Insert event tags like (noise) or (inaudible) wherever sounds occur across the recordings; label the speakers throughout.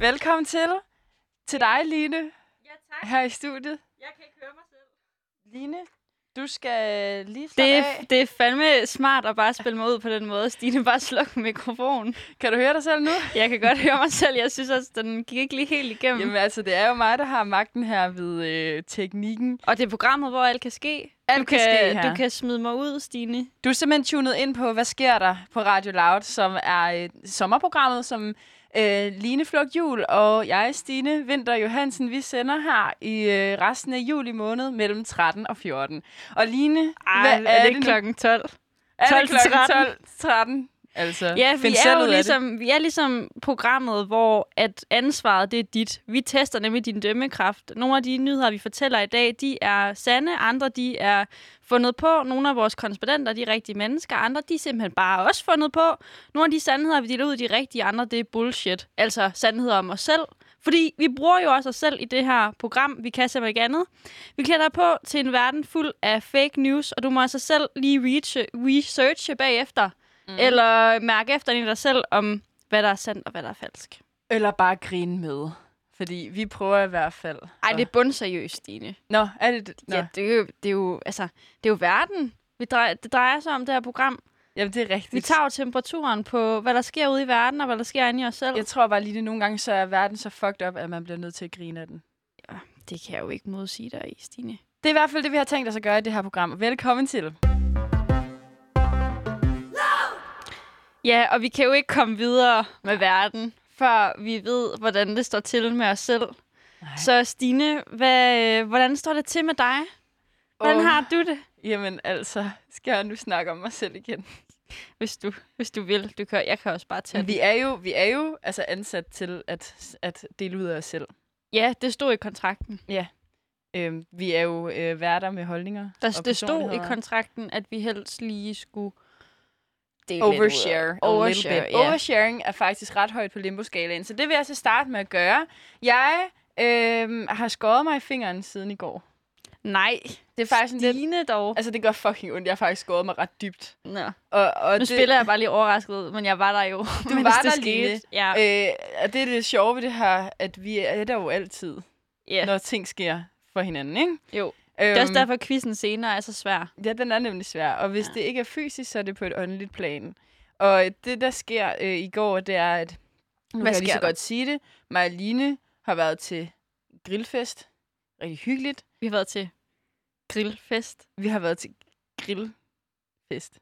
Speaker 1: Velkommen til. Til dig, Line,
Speaker 2: Ja, tak.
Speaker 1: her i studiet.
Speaker 2: Jeg kan ikke høre mig selv.
Speaker 1: Line, du skal lige slappe
Speaker 2: Det,
Speaker 1: af.
Speaker 2: er- det er fandme smart at bare spille mig ud på den måde. Stine, bare sluk mikrofonen.
Speaker 1: Kan du høre dig selv nu?
Speaker 2: Jeg kan godt høre mig selv. Jeg synes også, den gik ikke lige helt igennem.
Speaker 1: Jamen altså, det er jo mig, der har magten her ved øh, teknikken.
Speaker 2: Og det er programmet, hvor alt kan ske.
Speaker 1: Alt
Speaker 2: du
Speaker 1: kan ske her.
Speaker 2: Du kan smide mig ud, Stine.
Speaker 1: Du er simpelthen tunet ind på, hvad sker der på Radio Loud, som er øh, sommerprogrammet, som øh, Line Flok Jul og jeg, Stine Vinter Johansen, vi sender her i øh, resten af juli måned mellem 13 og 14. Og Line, hvad er, det nu?
Speaker 2: klokken 12?
Speaker 1: Er det
Speaker 2: 12 til
Speaker 1: klokken
Speaker 2: 13?
Speaker 1: 12 13? Altså,
Speaker 2: Ja,
Speaker 1: find
Speaker 2: vi
Speaker 1: selv
Speaker 2: er jo
Speaker 1: ud af det.
Speaker 2: ligesom, vi er ligesom programmet, hvor at ansvaret det er dit. Vi tester nemlig din dømmekraft. Nogle af de nyheder, vi fortæller i dag, de er sande, andre de er fundet på. Nogle af vores korrespondenter, de er rigtige mennesker, andre de er simpelthen bare også fundet på. Nogle af de sandheder, vi deler ud, de er rigtige, andre det er bullshit. Altså sandheder om os selv. Fordi vi bruger jo også os selv i det her program. Vi kan simpelthen ikke andet. Vi klæder dig på til en verden fuld af fake news, og du må altså selv lige reach- researche bagefter. Mm. Eller mærke efter i dig selv om, hvad der er sandt og hvad der er falsk.
Speaker 1: Eller bare grine med. Fordi vi prøver i hvert fald.
Speaker 2: Ej,
Speaker 1: at-
Speaker 2: det er bundseriøst, Stine.
Speaker 1: Nå, er det det? Nå.
Speaker 2: Ja, det er, jo, det, er jo, altså, det er jo verden, vi drejer, det drejer sig om det her program.
Speaker 1: Jamen, det er rigtigt.
Speaker 2: Vi tager jo temperaturen på, hvad der sker ude i verden, og hvad der sker inde i os selv.
Speaker 1: Jeg tror bare lige, det nogle gange, så er verden så fucked up, at man bliver nødt til at grine af den.
Speaker 2: Det kan jeg jo ikke modsige dig i, Stine.
Speaker 1: Det er i hvert fald det, vi har tænkt os at gøre i det her program. Velkommen til.
Speaker 2: Ja, og vi kan jo ikke komme videre med verden, før vi ved, hvordan det står til med os selv.
Speaker 1: Nej.
Speaker 2: Så Stine, hvad, øh, hvordan står det til med dig? Hvordan
Speaker 1: Åh.
Speaker 2: har du det?
Speaker 1: Jamen altså, skal jeg nu snakke om mig selv igen?
Speaker 2: Hvis du, hvis du vil. Du kan, jeg kan også bare tage
Speaker 1: Men vi er jo, vi er jo altså ansat til at, at dele ud af os selv.
Speaker 2: Ja, det stod i kontrakten.
Speaker 1: Øhm, vi er jo øh, værter med holdninger.
Speaker 2: Der, det stod i
Speaker 1: kontrakten.
Speaker 2: kontrakten, at vi helst lige skulle dele
Speaker 1: Overshare. a little
Speaker 2: Overshare,
Speaker 1: bit.
Speaker 2: ja.
Speaker 1: Oversharing er faktisk ret højt på limboskalaen, så det vil jeg så starte med at gøre. Jeg øh, har skåret mig i fingeren siden i går.
Speaker 2: Nej,
Speaker 1: Det er faktisk en lidt...
Speaker 2: Stine dog.
Speaker 1: Altså, det gør fucking ondt. Jeg har faktisk skåret mig ret dybt.
Speaker 2: Nå.
Speaker 1: Og, og
Speaker 2: Nu det... spiller jeg bare lige overrasket, ud, (laughs) men jeg var der jo.
Speaker 1: Du
Speaker 2: mens
Speaker 1: var
Speaker 2: det
Speaker 1: der,
Speaker 2: skete.
Speaker 1: Line.
Speaker 2: Ja, øh,
Speaker 1: Øh, og det er det sjove ved det her, at vi er der jo altid,
Speaker 2: ja.
Speaker 1: ja. når ting sker for hinanden, ikke?
Speaker 2: jo.
Speaker 1: Øhm,
Speaker 2: Det er også derfor, at quizzen senere er så svær.
Speaker 1: Ja, den er nemlig svær. Og hvis ja. det ikke er fysisk, så er det på et åndeligt plan. Og øh, det, der sker øh, i går, det er, at... Nu
Speaker 2: Hvad
Speaker 1: kan jeg lige
Speaker 2: sker
Speaker 1: så
Speaker 2: der?
Speaker 1: godt sige det. Mig og Line har været til grillfest. Rigtig hyggeligt.
Speaker 2: Vi har været til grillfest.
Speaker 1: Vi har været til grillfest.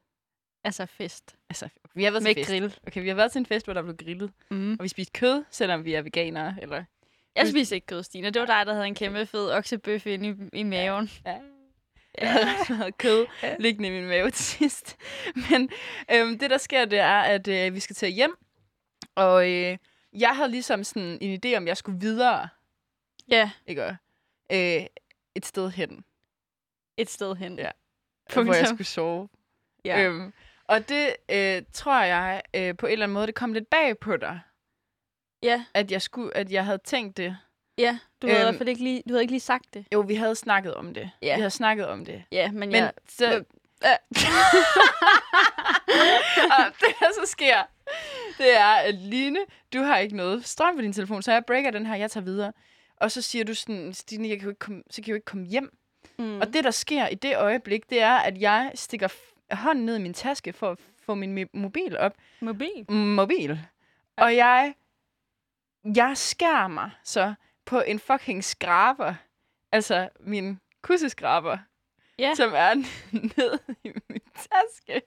Speaker 2: Altså fest.
Speaker 1: Altså, vi har været
Speaker 2: Med
Speaker 1: til fest.
Speaker 2: grill.
Speaker 1: Okay, vi har været til en fest, hvor der blev grillet.
Speaker 2: Mm.
Speaker 1: Og vi spiste kød, selvom vi er veganere. Eller...
Speaker 2: Jeg
Speaker 1: Øhm.
Speaker 2: spiste ikke kød, Stine. Det var dig, der havde en kæmpe fed oksebøf inde i, i maven.
Speaker 1: Ja. (laughs) Jeg havde
Speaker 2: Ja.
Speaker 1: rigtig meget kød
Speaker 2: Ja.
Speaker 1: liggende i min mave til sidst. Men øhm, det, der sker, det er, at øh, vi skal til hjem. Og øh, jeg havde ligesom sådan en idé om, jeg skulle videre
Speaker 2: (laughs) ja,
Speaker 1: ikke? Og, Øh, et sted hen,
Speaker 2: et sted hen.
Speaker 1: Ja. hvor jeg
Speaker 2: Punktum.
Speaker 1: skulle sove.
Speaker 2: Ja. Øh,
Speaker 1: Øhm, og det øh, tror jeg øh, på en eller anden måde, det kom lidt bag på dig,
Speaker 2: ja.
Speaker 1: at jeg, skulle, at jeg havde tænkt det.
Speaker 2: ja. Du havde i
Speaker 1: Øhm.
Speaker 2: hvert fald ikke lige, du havde ikke lige sagt det.
Speaker 1: Jo, vi havde snakket om det.
Speaker 2: Ja.
Speaker 1: Vi havde snakket om det.
Speaker 2: Ja, men,
Speaker 1: Men
Speaker 2: jeg...
Speaker 1: så...
Speaker 2: Hvem?
Speaker 1: (laughs) og det, der så sker, det er, at Line, du har ikke noget strøm på din telefon, så jeg breaker den her, jeg tager videre. Og så siger du sådan, Stine, jeg kan jo ikke komme, så kan jeg jo ikke komme hjem.
Speaker 2: Mm.
Speaker 1: Mm. Og det, der sker i det øjeblik, det er, at jeg stikker f- hånden ned i min taske for at få min mi- mobil op.
Speaker 2: Mobil?
Speaker 1: Mobil. Og jeg, jeg skærer mig så på en fucking skraber. Altså min kusseskraber
Speaker 2: Ja.
Speaker 1: som er (laughs) ned i min taske.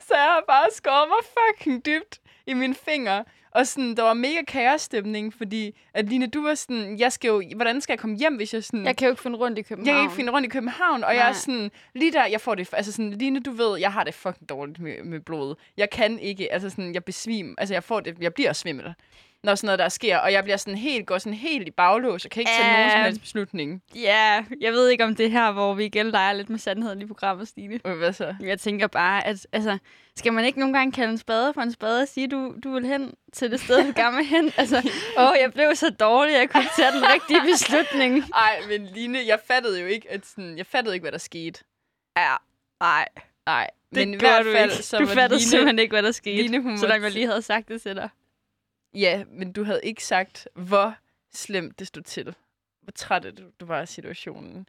Speaker 1: Så jeg har bare skåret mig fucking dybt i mine fingre. Og sådan, der var mega kaosstemning, fordi at Line, du var sådan, jeg skal jo, hvordan skal jeg komme hjem, hvis jeg sådan...
Speaker 2: Jeg kan jo ikke finde rundt
Speaker 1: Mm.
Speaker 2: i
Speaker 1: jeg
Speaker 2: København.
Speaker 1: kan ikke finde rundt i København, og Nej. jeg
Speaker 2: Nej.
Speaker 1: er sådan, lige der, jeg får det, altså sådan, Line, du ved, jeg har det fucking dårligt med, med blodet. Jeg kan ikke, altså sådan, jeg besvimer, altså jeg får det, jeg bliver svimmel, når sådan noget der sker, og jeg bliver sådan helt, går sådan helt i baglås, og kan ikke tage nogen som
Speaker 2: Ja.
Speaker 1: helst beslutning.
Speaker 2: Ja, jeg ved ikke om det er her, hvor vi igen leger lidt med sandheden i programmet, Stine.
Speaker 1: Øh, Hvad så?
Speaker 2: Jeg tænker bare, at altså, skal man ikke nogle gange kalde en spade for en spade og sige, du, du vil hen til det sted, du gerne vil hen?
Speaker 1: (laughs)
Speaker 2: Altså, åh, jeg blev så dårlig, jeg kunne ikke tage den rigtige beslutning.
Speaker 1: Ej, men Line, jeg fattede jo ikke, at sådan, jeg fattede ikke, hvad der skete.
Speaker 2: Ja, nej,
Speaker 1: Nej,
Speaker 2: det
Speaker 1: men i
Speaker 2: gjorde
Speaker 1: hvert
Speaker 2: du
Speaker 1: fald,
Speaker 2: ikke.
Speaker 1: så
Speaker 2: du
Speaker 1: var
Speaker 2: fattede
Speaker 1: Line,
Speaker 2: simpelthen ikke, hvad der skete,
Speaker 1: Line, hun
Speaker 2: selvom
Speaker 1: måtte-
Speaker 2: jeg lige havde sagt det til dig.
Speaker 1: Ja, men du havde ikke sagt, hvor slemt det stod til. Hvor træt af du, du var af situationen.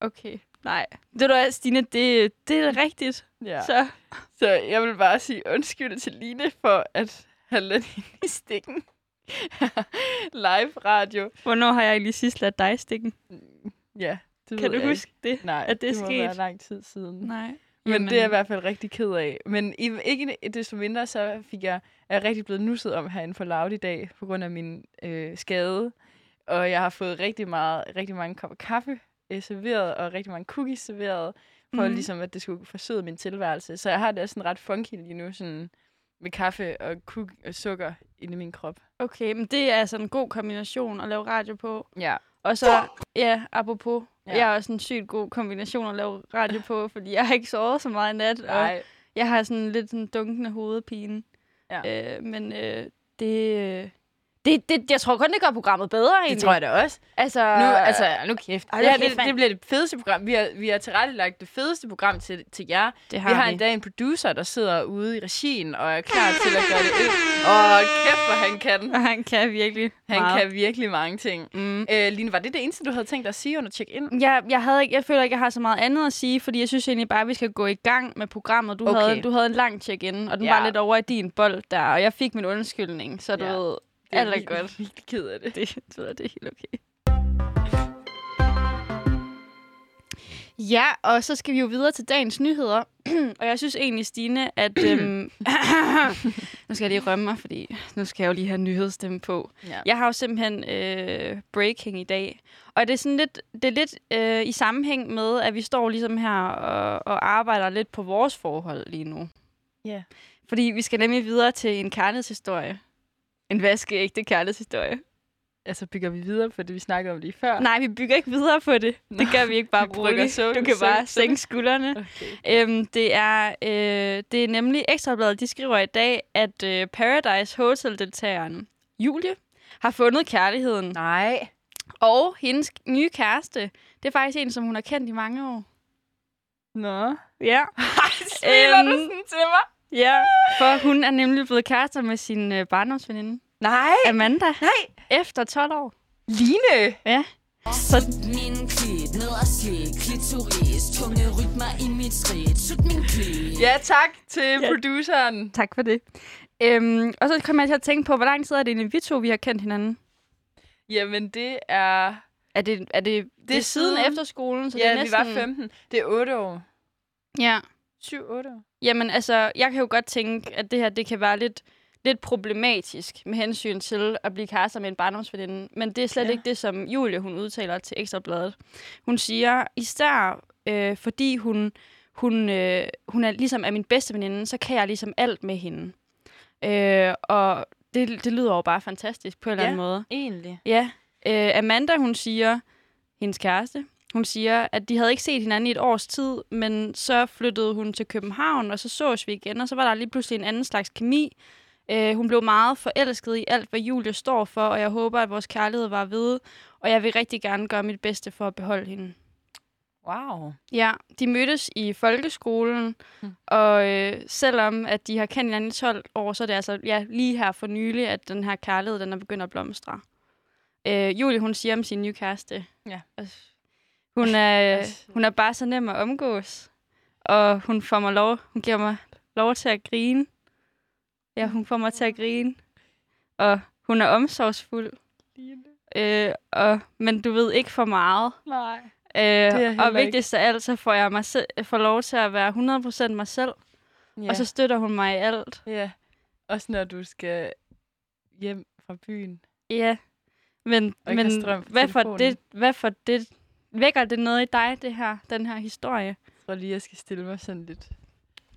Speaker 2: Okay, nej. Det du hvad, Stine, det, det er da rigtigt.
Speaker 1: Ja.
Speaker 2: Ja.
Speaker 1: Så.
Speaker 2: Så
Speaker 1: så jeg vil bare sige undskyld til Line for at have ladt hende i stikken. (laughs) Live radio.
Speaker 2: hvornår har jeg lige sidst ladt dig stikken?
Speaker 1: Ja, det
Speaker 2: Kan
Speaker 1: ved
Speaker 2: du
Speaker 1: jeg
Speaker 2: huske det?
Speaker 1: Ikke. Nej,
Speaker 2: at det er
Speaker 1: det må være
Speaker 2: sket?
Speaker 1: lang tid siden.
Speaker 2: Nej.
Speaker 1: Men det er jeg i hvert fald rigtig ked af. Men i- ikke desto mindre, så fik jeg, er jeg rigtig blevet nusset om herinde for Loud i dag, på grund af min øh, skade. Og jeg har fået rigtig, meget, rigtig mange kopper kaffe øh, serveret, og rigtig mange cookies serveret, for
Speaker 2: Mhm.
Speaker 1: mm. ligesom, at det skulle forsøde min tilværelse. Så jeg har det også sådan ret funky lige nu, sådan med kaffe og, cook- og sukker inde i min krop.
Speaker 2: Okay, men det er altså en god kombination at lave radio på.
Speaker 1: Ja.
Speaker 2: Og så, ja, apropos,
Speaker 1: Ja.
Speaker 2: ja. jeg er også en sygt god kombination at lave radio
Speaker 1: (laughs)
Speaker 2: på, fordi jeg har ikke sovet så meget i nat, og
Speaker 1: Nej.
Speaker 2: jeg har sådan lidt sådan dunkende hovedpine.
Speaker 1: Ja.
Speaker 2: Øh, men øh, det, øh, det, det, jeg tror kun, det gør programmet bedre, egentlig.
Speaker 1: Det tror jeg da også.
Speaker 2: Altså,
Speaker 1: Nu, altså, nu kæft.
Speaker 2: Ej,
Speaker 1: Ej,
Speaker 2: det
Speaker 1: det,
Speaker 2: er
Speaker 1: her, det,
Speaker 2: fedt,
Speaker 1: det bliver det fedeste program. Vi har, vi har tilrettelagt det fedeste program til, til jer.
Speaker 2: det
Speaker 1: Vi har endda en producer, der sidder ude i regien og er klar til at gøre det ind. Og kæft, hvor han kan.
Speaker 2: Og (laughs) han kan virkelig
Speaker 1: Han
Speaker 2: meget.
Speaker 1: kan virkelig mange ting.
Speaker 2: Mm.
Speaker 1: Øh, Line, var det det eneste, du havde tænkt dig at sige under check-in?
Speaker 2: Jeg, jeg, havde ikke, jeg føler ikke, jeg har så meget andet at sige, fordi jeg synes egentlig bare, at vi skal gå i gang med programmet. Du,
Speaker 1: Okay.
Speaker 2: okay. havde, du havde en lang check-in, og den
Speaker 1: Ja.
Speaker 2: ja. var lidt over i din bold der, og jeg fik min undskyldning, så du
Speaker 1: Ja.
Speaker 2: ja. ved, (laughs)
Speaker 1: Det
Speaker 2: alt er
Speaker 1: virkelig-
Speaker 2: godt.
Speaker 1: virkelig ked af det.
Speaker 2: Det, du ved, det er helt okay. Ja, og så skal vi jo videre til dagens nyheder. (clears throat) og jeg synes egentlig, Stine, at... (clears throat) øhm, nu skal jeg lige rømme mig, fordi nu skal jeg jo lige have nyhedsstemme på.
Speaker 1: Ja.
Speaker 2: Jeg har jo simpelthen øh, breaking i dag. Og det er sådan lidt, det er lidt øh, i sammenhæng med, at vi står ligesom her og, og arbejder lidt på vores forhold lige nu.
Speaker 1: Ja.
Speaker 2: Fordi vi skal nemlig videre til en kærlighedshistorie. En vaskeægte kærlighedshistorie.
Speaker 1: Altså, bygger vi videre på det, vi snakkede om lige før?
Speaker 2: Nej, vi bygger ikke videre på det. Det gør vi ikke bare
Speaker 1: (laughs) Vi brygger
Speaker 2: roligt.
Speaker 1: sukker-
Speaker 2: Du kan
Speaker 1: sukker-
Speaker 2: bare sænke skuldrene.
Speaker 1: (laughs) Okay.
Speaker 2: Øhm, det, er, øh, det er nemlig Ekstrabladet, de skriver i dag, at øh, Paradise Hotel-deltageren Julie har fundet kærligheden.
Speaker 1: Nej.
Speaker 2: Og hendes nye kæreste, det er faktisk en, som hun har kendt i mange år.
Speaker 1: Nå. (laughs)
Speaker 2: Ja.
Speaker 1: Smiler du
Speaker 2: Øhm.
Speaker 1: sådan til mig?
Speaker 2: ja. For hun er nemlig blevet kærester med sin øh, barndomsveninde,
Speaker 1: Nej.
Speaker 2: Amanda,
Speaker 1: Nej.
Speaker 2: efter 12 år.
Speaker 1: Line.
Speaker 2: Ja. Så
Speaker 3: Min klit ned og slik Klitoris Tunge rytmer i mit skridt Sut min klit
Speaker 1: Ja, tak til produceren.
Speaker 2: tak for det. Øhm, og så kom jeg til at tænke på, hvor lang tid er det egentlig, vi to vi har kendt hinanden?
Speaker 1: Jamen, det er...
Speaker 2: Er det, er det, det, er siden
Speaker 1: siden-
Speaker 2: efterskolen, så det er
Speaker 1: Ja, vi
Speaker 2: næsten...
Speaker 1: var 15. Det er 8 år.
Speaker 2: Ja.
Speaker 1: 7-8 år.
Speaker 2: Jamen altså, jeg kan jo godt tænke, at det her det kan være lidt, lidt problematisk med hensyn til at blive kærester med en barndomsveninde. Men det er slet
Speaker 1: Ja.
Speaker 2: ja. ikke det, som Julie hun udtaler til Ekstrabladet. Hun siger, især øh, fordi hun, hun, øh, hun er ligesom er min bedste veninde, så kan jeg ligesom alt med hende. Øh, og det, det lyder jo bare fantastisk på en eller
Speaker 1: Ja.
Speaker 2: anden måde.
Speaker 1: Egentlig.
Speaker 2: Ja. Øh, Amanda, hun siger, hendes kæreste, hun siger, at de havde ikke set hinanden i et års tid, men så flyttede hun til København, og så sås vi igen, og så var der lige pludselig en anden slags kemi. Øh, hun blev meget forelsket i alt, hvad Julie står for, og jeg håber, at vores kærlighed var ved, og jeg vil rigtig gerne gøre mit bedste for at beholde hende.
Speaker 1: Wow.
Speaker 2: Ja, de mødtes i folkeskolen,
Speaker 1: Hmm.
Speaker 2: og øh, selvom at de har kendt hinanden i 12 år, så er det altså ja, lige her for nylig, at den her kærlighed den er begyndt at blomstre. Øh, Julie, hun siger om sin nye kæreste.
Speaker 1: Ja.
Speaker 2: at Hun er, øh,
Speaker 1: Altså.
Speaker 2: hun er bare så nem at omgås, og hun, får mig lov, hun giver mig lov til at grine. Ja, hun får mig til at grine. Og hun er omsorgsfuld,
Speaker 1: Line.
Speaker 2: øh, og, men du ved ikke for meget.
Speaker 1: Nej. er
Speaker 2: Øh,
Speaker 1: heller
Speaker 2: og
Speaker 1: ikke.
Speaker 2: vigtigst af alt, så får jeg mig selv, får lov til at være 100% mig selv,
Speaker 1: Ja.
Speaker 2: ja. og så støtter hun mig i alt.
Speaker 1: Ja. Også når du skal hjem fra byen.
Speaker 2: Ja, men,
Speaker 1: Og ikke har
Speaker 2: men
Speaker 1: strøm på
Speaker 2: hvad, for
Speaker 1: telefonen.
Speaker 2: det, hvad for det, vækker det noget i dig, det her, den her historie?
Speaker 1: Jeg tror lige, jeg skal stille mig sådan lidt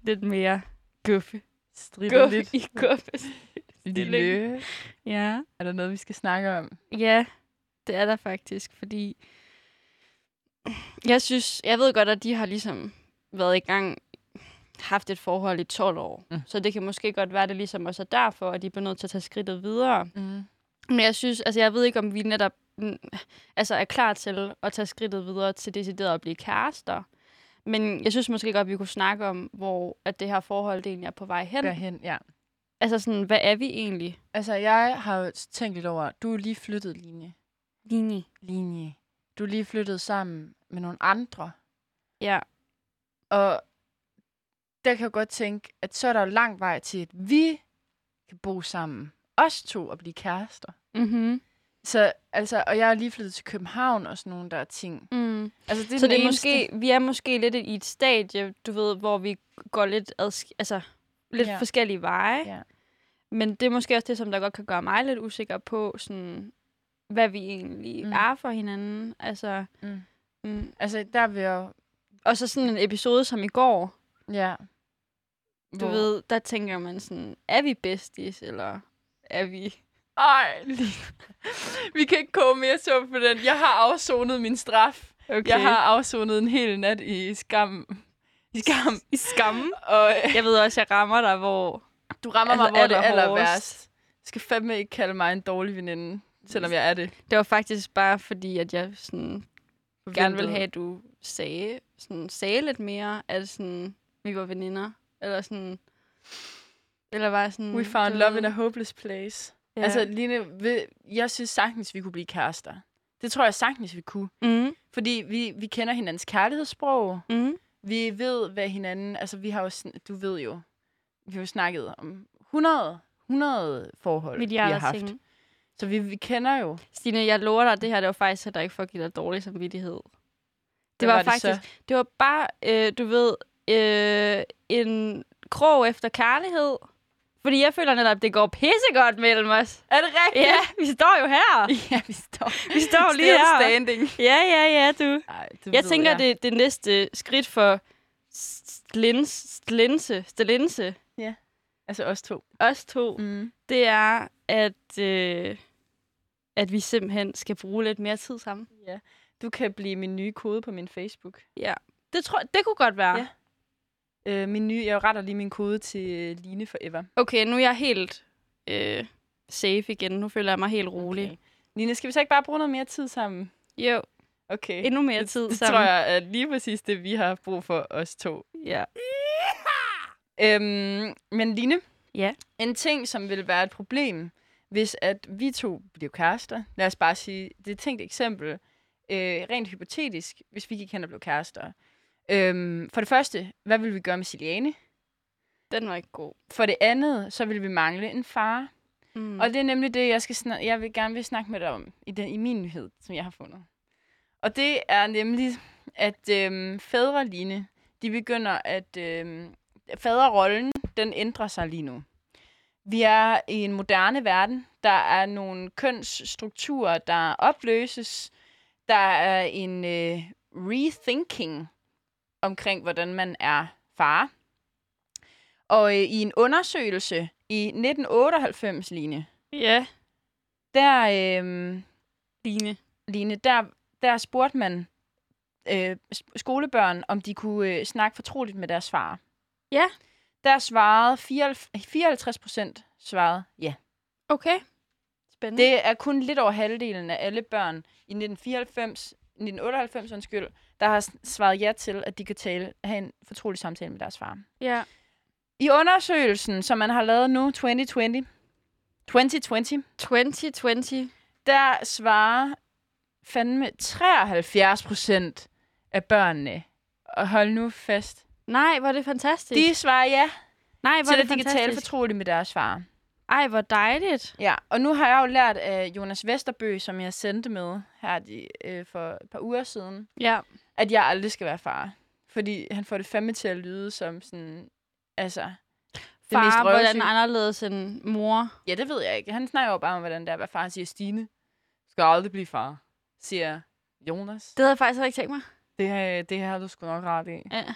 Speaker 2: Lidt mere guffe.
Speaker 1: stribe
Speaker 2: Guffe
Speaker 1: lidt.
Speaker 2: i guffe.
Speaker 1: Lille.
Speaker 2: Ja.
Speaker 1: Er der noget, vi skal snakke om?
Speaker 2: ja, det er der faktisk, fordi jeg synes, jeg ved godt, at de har ligesom været i gang haft et forhold i 12 år.
Speaker 1: Mm.
Speaker 2: Mm. Så det kan måske godt være, at det ligesom også er derfor, at de bliver nødt til at tage skridtet videre.
Speaker 1: Mm.
Speaker 2: Men jeg synes, altså jeg ved ikke, om vi netop mm, altså er klar til at tage skridtet videre til decideret at blive kærester. Men jeg synes måske godt, at vi kunne snakke om, hvor at det her forhold det egentlig er på vej hen.
Speaker 1: Derhen, ja.
Speaker 2: Altså sådan, hvad er vi egentlig?
Speaker 1: Altså, jeg har jo tænkt lidt over, du er lige flyttet, Line.
Speaker 2: Linje.
Speaker 1: Line. Du er lige flyttet sammen med nogle andre.
Speaker 2: Ja.
Speaker 1: Og der kan jeg godt tænke, at så er der jo lang vej til, at vi kan bo sammen. Os to og blive kærester.
Speaker 2: Mm-hmm.
Speaker 1: Så, altså, og jeg er lige flyttet til København og sådan nogle der ting.
Speaker 2: Mm.
Speaker 1: Altså, det er
Speaker 2: Så
Speaker 1: den
Speaker 2: det er
Speaker 1: eneste-
Speaker 2: måske, vi er måske lidt i et stadie, du ved, hvor vi går lidt, adsk- altså, lidt
Speaker 1: Ja.
Speaker 2: ja. forskellige veje.
Speaker 1: Ja.
Speaker 2: Men det er måske også det, som der godt kan gøre mig lidt usikker på, sådan, hvad vi egentlig
Speaker 1: Mm.
Speaker 2: mm. er for hinanden. Altså,
Speaker 1: Mm.
Speaker 2: mm. Mm.
Speaker 1: Altså, der vil jeg...
Speaker 2: Og så sådan en episode som i går,
Speaker 1: Ja.
Speaker 2: du
Speaker 1: Hvor-
Speaker 2: ved, der tænker man sådan, er vi besties, eller er vi...
Speaker 1: Ej, lige. (laughs) Vi kan ikke koge mere suppe på den. Jeg har afsonet min straf.
Speaker 2: Okay.
Speaker 1: Okay. Jeg
Speaker 2: (laughs)
Speaker 1: har afsonet en hel nat i skam. I skam.
Speaker 2: i skammen.
Speaker 1: Og øh,
Speaker 2: Jeg ved også, jeg rammer dig, hvor...
Speaker 1: du rammer altså, mig,
Speaker 2: Altså,
Speaker 1: hvor
Speaker 2: er
Speaker 1: det er
Speaker 2: det
Speaker 1: aller
Speaker 2: hårdest?
Speaker 1: værst. Du skal fandme ikke kalde mig en dårlig veninde, selvom jeg er det.
Speaker 2: Det var faktisk bare fordi, at jeg sådan, gerne ville have, at du sagde, sådan, sagde lidt mere, at sådan, vi var veninder. Eller sådan... Eller var sådan...
Speaker 1: We found
Speaker 2: du
Speaker 1: love
Speaker 2: ved.
Speaker 1: in a hopeless place.
Speaker 2: Ja.
Speaker 1: Ja. Altså, Line, ved- jeg synes sagtens, vi kunne blive kærester. Det tror jeg sagtens, vi kunne.
Speaker 2: Mm,
Speaker 1: Fordi vi, vi kender hinandens kærlighedssprog.
Speaker 2: mm,
Speaker 1: Vi ved, hvad hinanden... Altså, vi har jo... sn- Du ved jo... Vi har jo snakket om 100, 100 forhold, vi har
Speaker 2: milliarder
Speaker 1: haft.
Speaker 2: ting.
Speaker 1: Så vi, vi kender
Speaker 2: (laughs)
Speaker 1: jo...
Speaker 2: Stine, jeg lover dig, at det her det var faktisk heller ikke for at give dig dårlig samvittighed.
Speaker 1: Hvad
Speaker 2: Det var,
Speaker 1: var det
Speaker 2: faktisk,
Speaker 1: så?
Speaker 2: det, det var bare, øh, du ved, øh, en krog efter kærlighed. Fordi jeg føler netop, at det går pissegodt mellem os.
Speaker 1: Er det rigtigt?
Speaker 2: Ja, vi står jo her.
Speaker 1: ja vi står, (laughs)
Speaker 2: Vi står lige
Speaker 1: Still
Speaker 2: her.
Speaker 1: standing.
Speaker 2: (laughs) Ja, ja, ja, du.
Speaker 1: Ej, det
Speaker 2: Jeg
Speaker 1: ved
Speaker 2: tænker, det, det næste skridt for Stlins, Stlinse, Stlinse,
Speaker 1: Altså os to.
Speaker 2: os to,
Speaker 1: Mm.
Speaker 2: det er, at, øh, at vi simpelthen skal bruge lidt mere tid sammen.
Speaker 1: Du kan blive min nye kode på min Facebook.
Speaker 2: Det, tror, det kunne godt være.
Speaker 1: Ja. Øh, min nye, jeg retter lige min kode til øh, Line Forever.
Speaker 2: Okay, nu er jeg helt øh, safe igen. Nu føler jeg mig helt rolig.
Speaker 1: Okay. Line, skal vi så ikke bare bruge noget mere tid sammen?
Speaker 2: Jo,
Speaker 1: Okay.
Speaker 2: endnu mere tid
Speaker 1: det, det
Speaker 2: sammen.
Speaker 1: tror jeg er lige præcis det, vi har brug for os to.
Speaker 2: Ja.
Speaker 1: Øhm, men Line,
Speaker 2: Ja.
Speaker 1: en ting, som ville være et problem, hvis at vi to blev kærester, lad os bare sige, det er et tænkt eksempel, øh, rent hypotetisk, hvis vi gik hen og blev kærester. Øhm, for det første, hvad ville vi gøre med Siliane?
Speaker 2: Den var ikke god.
Speaker 1: For det andet, så ville vi mangle en far.
Speaker 2: Mm.
Speaker 1: Mm. Og det er nemlig det, jeg, skal snak- jeg vil gerne vil snakke med dig om i, den, i min nyhed, som jeg har fundet. Og det er nemlig, at øhm, fædre Line, de begynder at... Øhm, faderrollen, den ændrer sig lige nu. Vi er i en moderne verden. Der er nogle kønsstrukturer, der opløses. Der er en øh, rethinking omkring, hvordan man er far. Og øh, i en undersøgelse i 1998, Line,
Speaker 2: Ja,
Speaker 1: der, øh,
Speaker 2: Line.
Speaker 1: Line, der, der spurgte man øh, s- skolebørn, om de kunne øh, snakke fortroligt med deres far.
Speaker 2: Ja.
Speaker 1: Der svarede 54 procent svarede ja.
Speaker 2: Okay. Spændende.
Speaker 1: Det er kun lidt over halvdelen af alle børn i 1994, 1998, undskyld, der har s- svaret ja til, at de kan tale, have en fortrolig samtale med deres far.
Speaker 2: Ja.
Speaker 1: I undersøgelsen, som man har lavet nu, 2020, 2020
Speaker 2: 2020.
Speaker 1: der svarer fandme 73 procent af børnene, og hold nu fast,
Speaker 2: Nej, hvor er det fantastisk.
Speaker 1: de svarer ja
Speaker 2: Nej, hvor er
Speaker 1: til,
Speaker 2: det
Speaker 1: at de kan tale
Speaker 2: fantastisk.
Speaker 1: fortroligt med deres far.
Speaker 2: Ej, hvor dejligt.
Speaker 1: Ja, og nu har jeg jo lært af Jonas Vesterbø, som jeg sendte med her de, øh, for et par uger siden,
Speaker 2: Ja.
Speaker 1: at jeg aldrig skal være far. Fordi han får det fandme til at lyde som sådan, altså, det mest
Speaker 2: Far, hvordan
Speaker 1: røvsyge.
Speaker 2: anderledes end mor.
Speaker 1: Ja, det ved jeg ikke. Han snakker jo bare om, hvordan det er at være far. Han siger, Stine, du skal aldrig blive far, siger Jonas.
Speaker 2: Det havde jeg faktisk heller ikke tænkt mig.
Speaker 1: Det, her, det her har du sgu nok ret i.
Speaker 2: Ja. Det, øhm,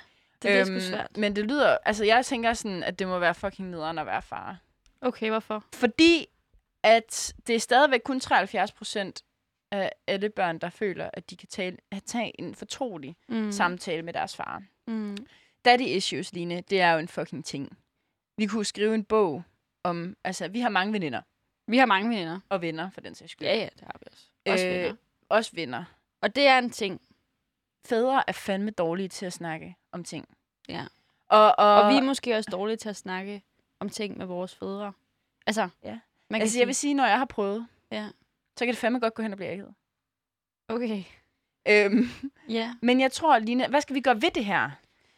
Speaker 2: det er sgu svært.
Speaker 1: Men det lyder... Altså, jeg tænker sådan, at det må være fucking nederen at være far.
Speaker 2: Okay, hvorfor?
Speaker 1: Fordi at det er stadigvæk kun 73 procent af alle børn, der føler, at de kan tale, at tage en fortrolig
Speaker 2: Mm.
Speaker 1: mm. samtale med deres far.
Speaker 2: Mm.
Speaker 1: Daddy issues, Line, det er jo en fucking ting. Vi kunne skrive en bog om... Altså, vi har mange veninder.
Speaker 2: Vi har mange veninder.
Speaker 1: Og venner, for den sags skyld.
Speaker 2: Ja, ja, det har vi også. Også
Speaker 1: Øh,
Speaker 2: venner.
Speaker 1: Også venner.
Speaker 2: Og det er en ting.
Speaker 1: Fædre er fandme dårlige til at snakke om ting.
Speaker 2: Ja.
Speaker 1: Og, og,
Speaker 2: Og vi er måske også dårlige til at snakke om ting med vores fødder. Altså,
Speaker 1: Ja.
Speaker 2: man kan
Speaker 1: Altså, jeg vil sige, når jeg har prøvet,
Speaker 2: Ja.
Speaker 1: så kan det fandme godt gå hen og blive ægget.
Speaker 2: Okay.
Speaker 1: Øhm,
Speaker 2: Ja.
Speaker 1: men jeg tror, Line, hvad skal vi gøre ved det her?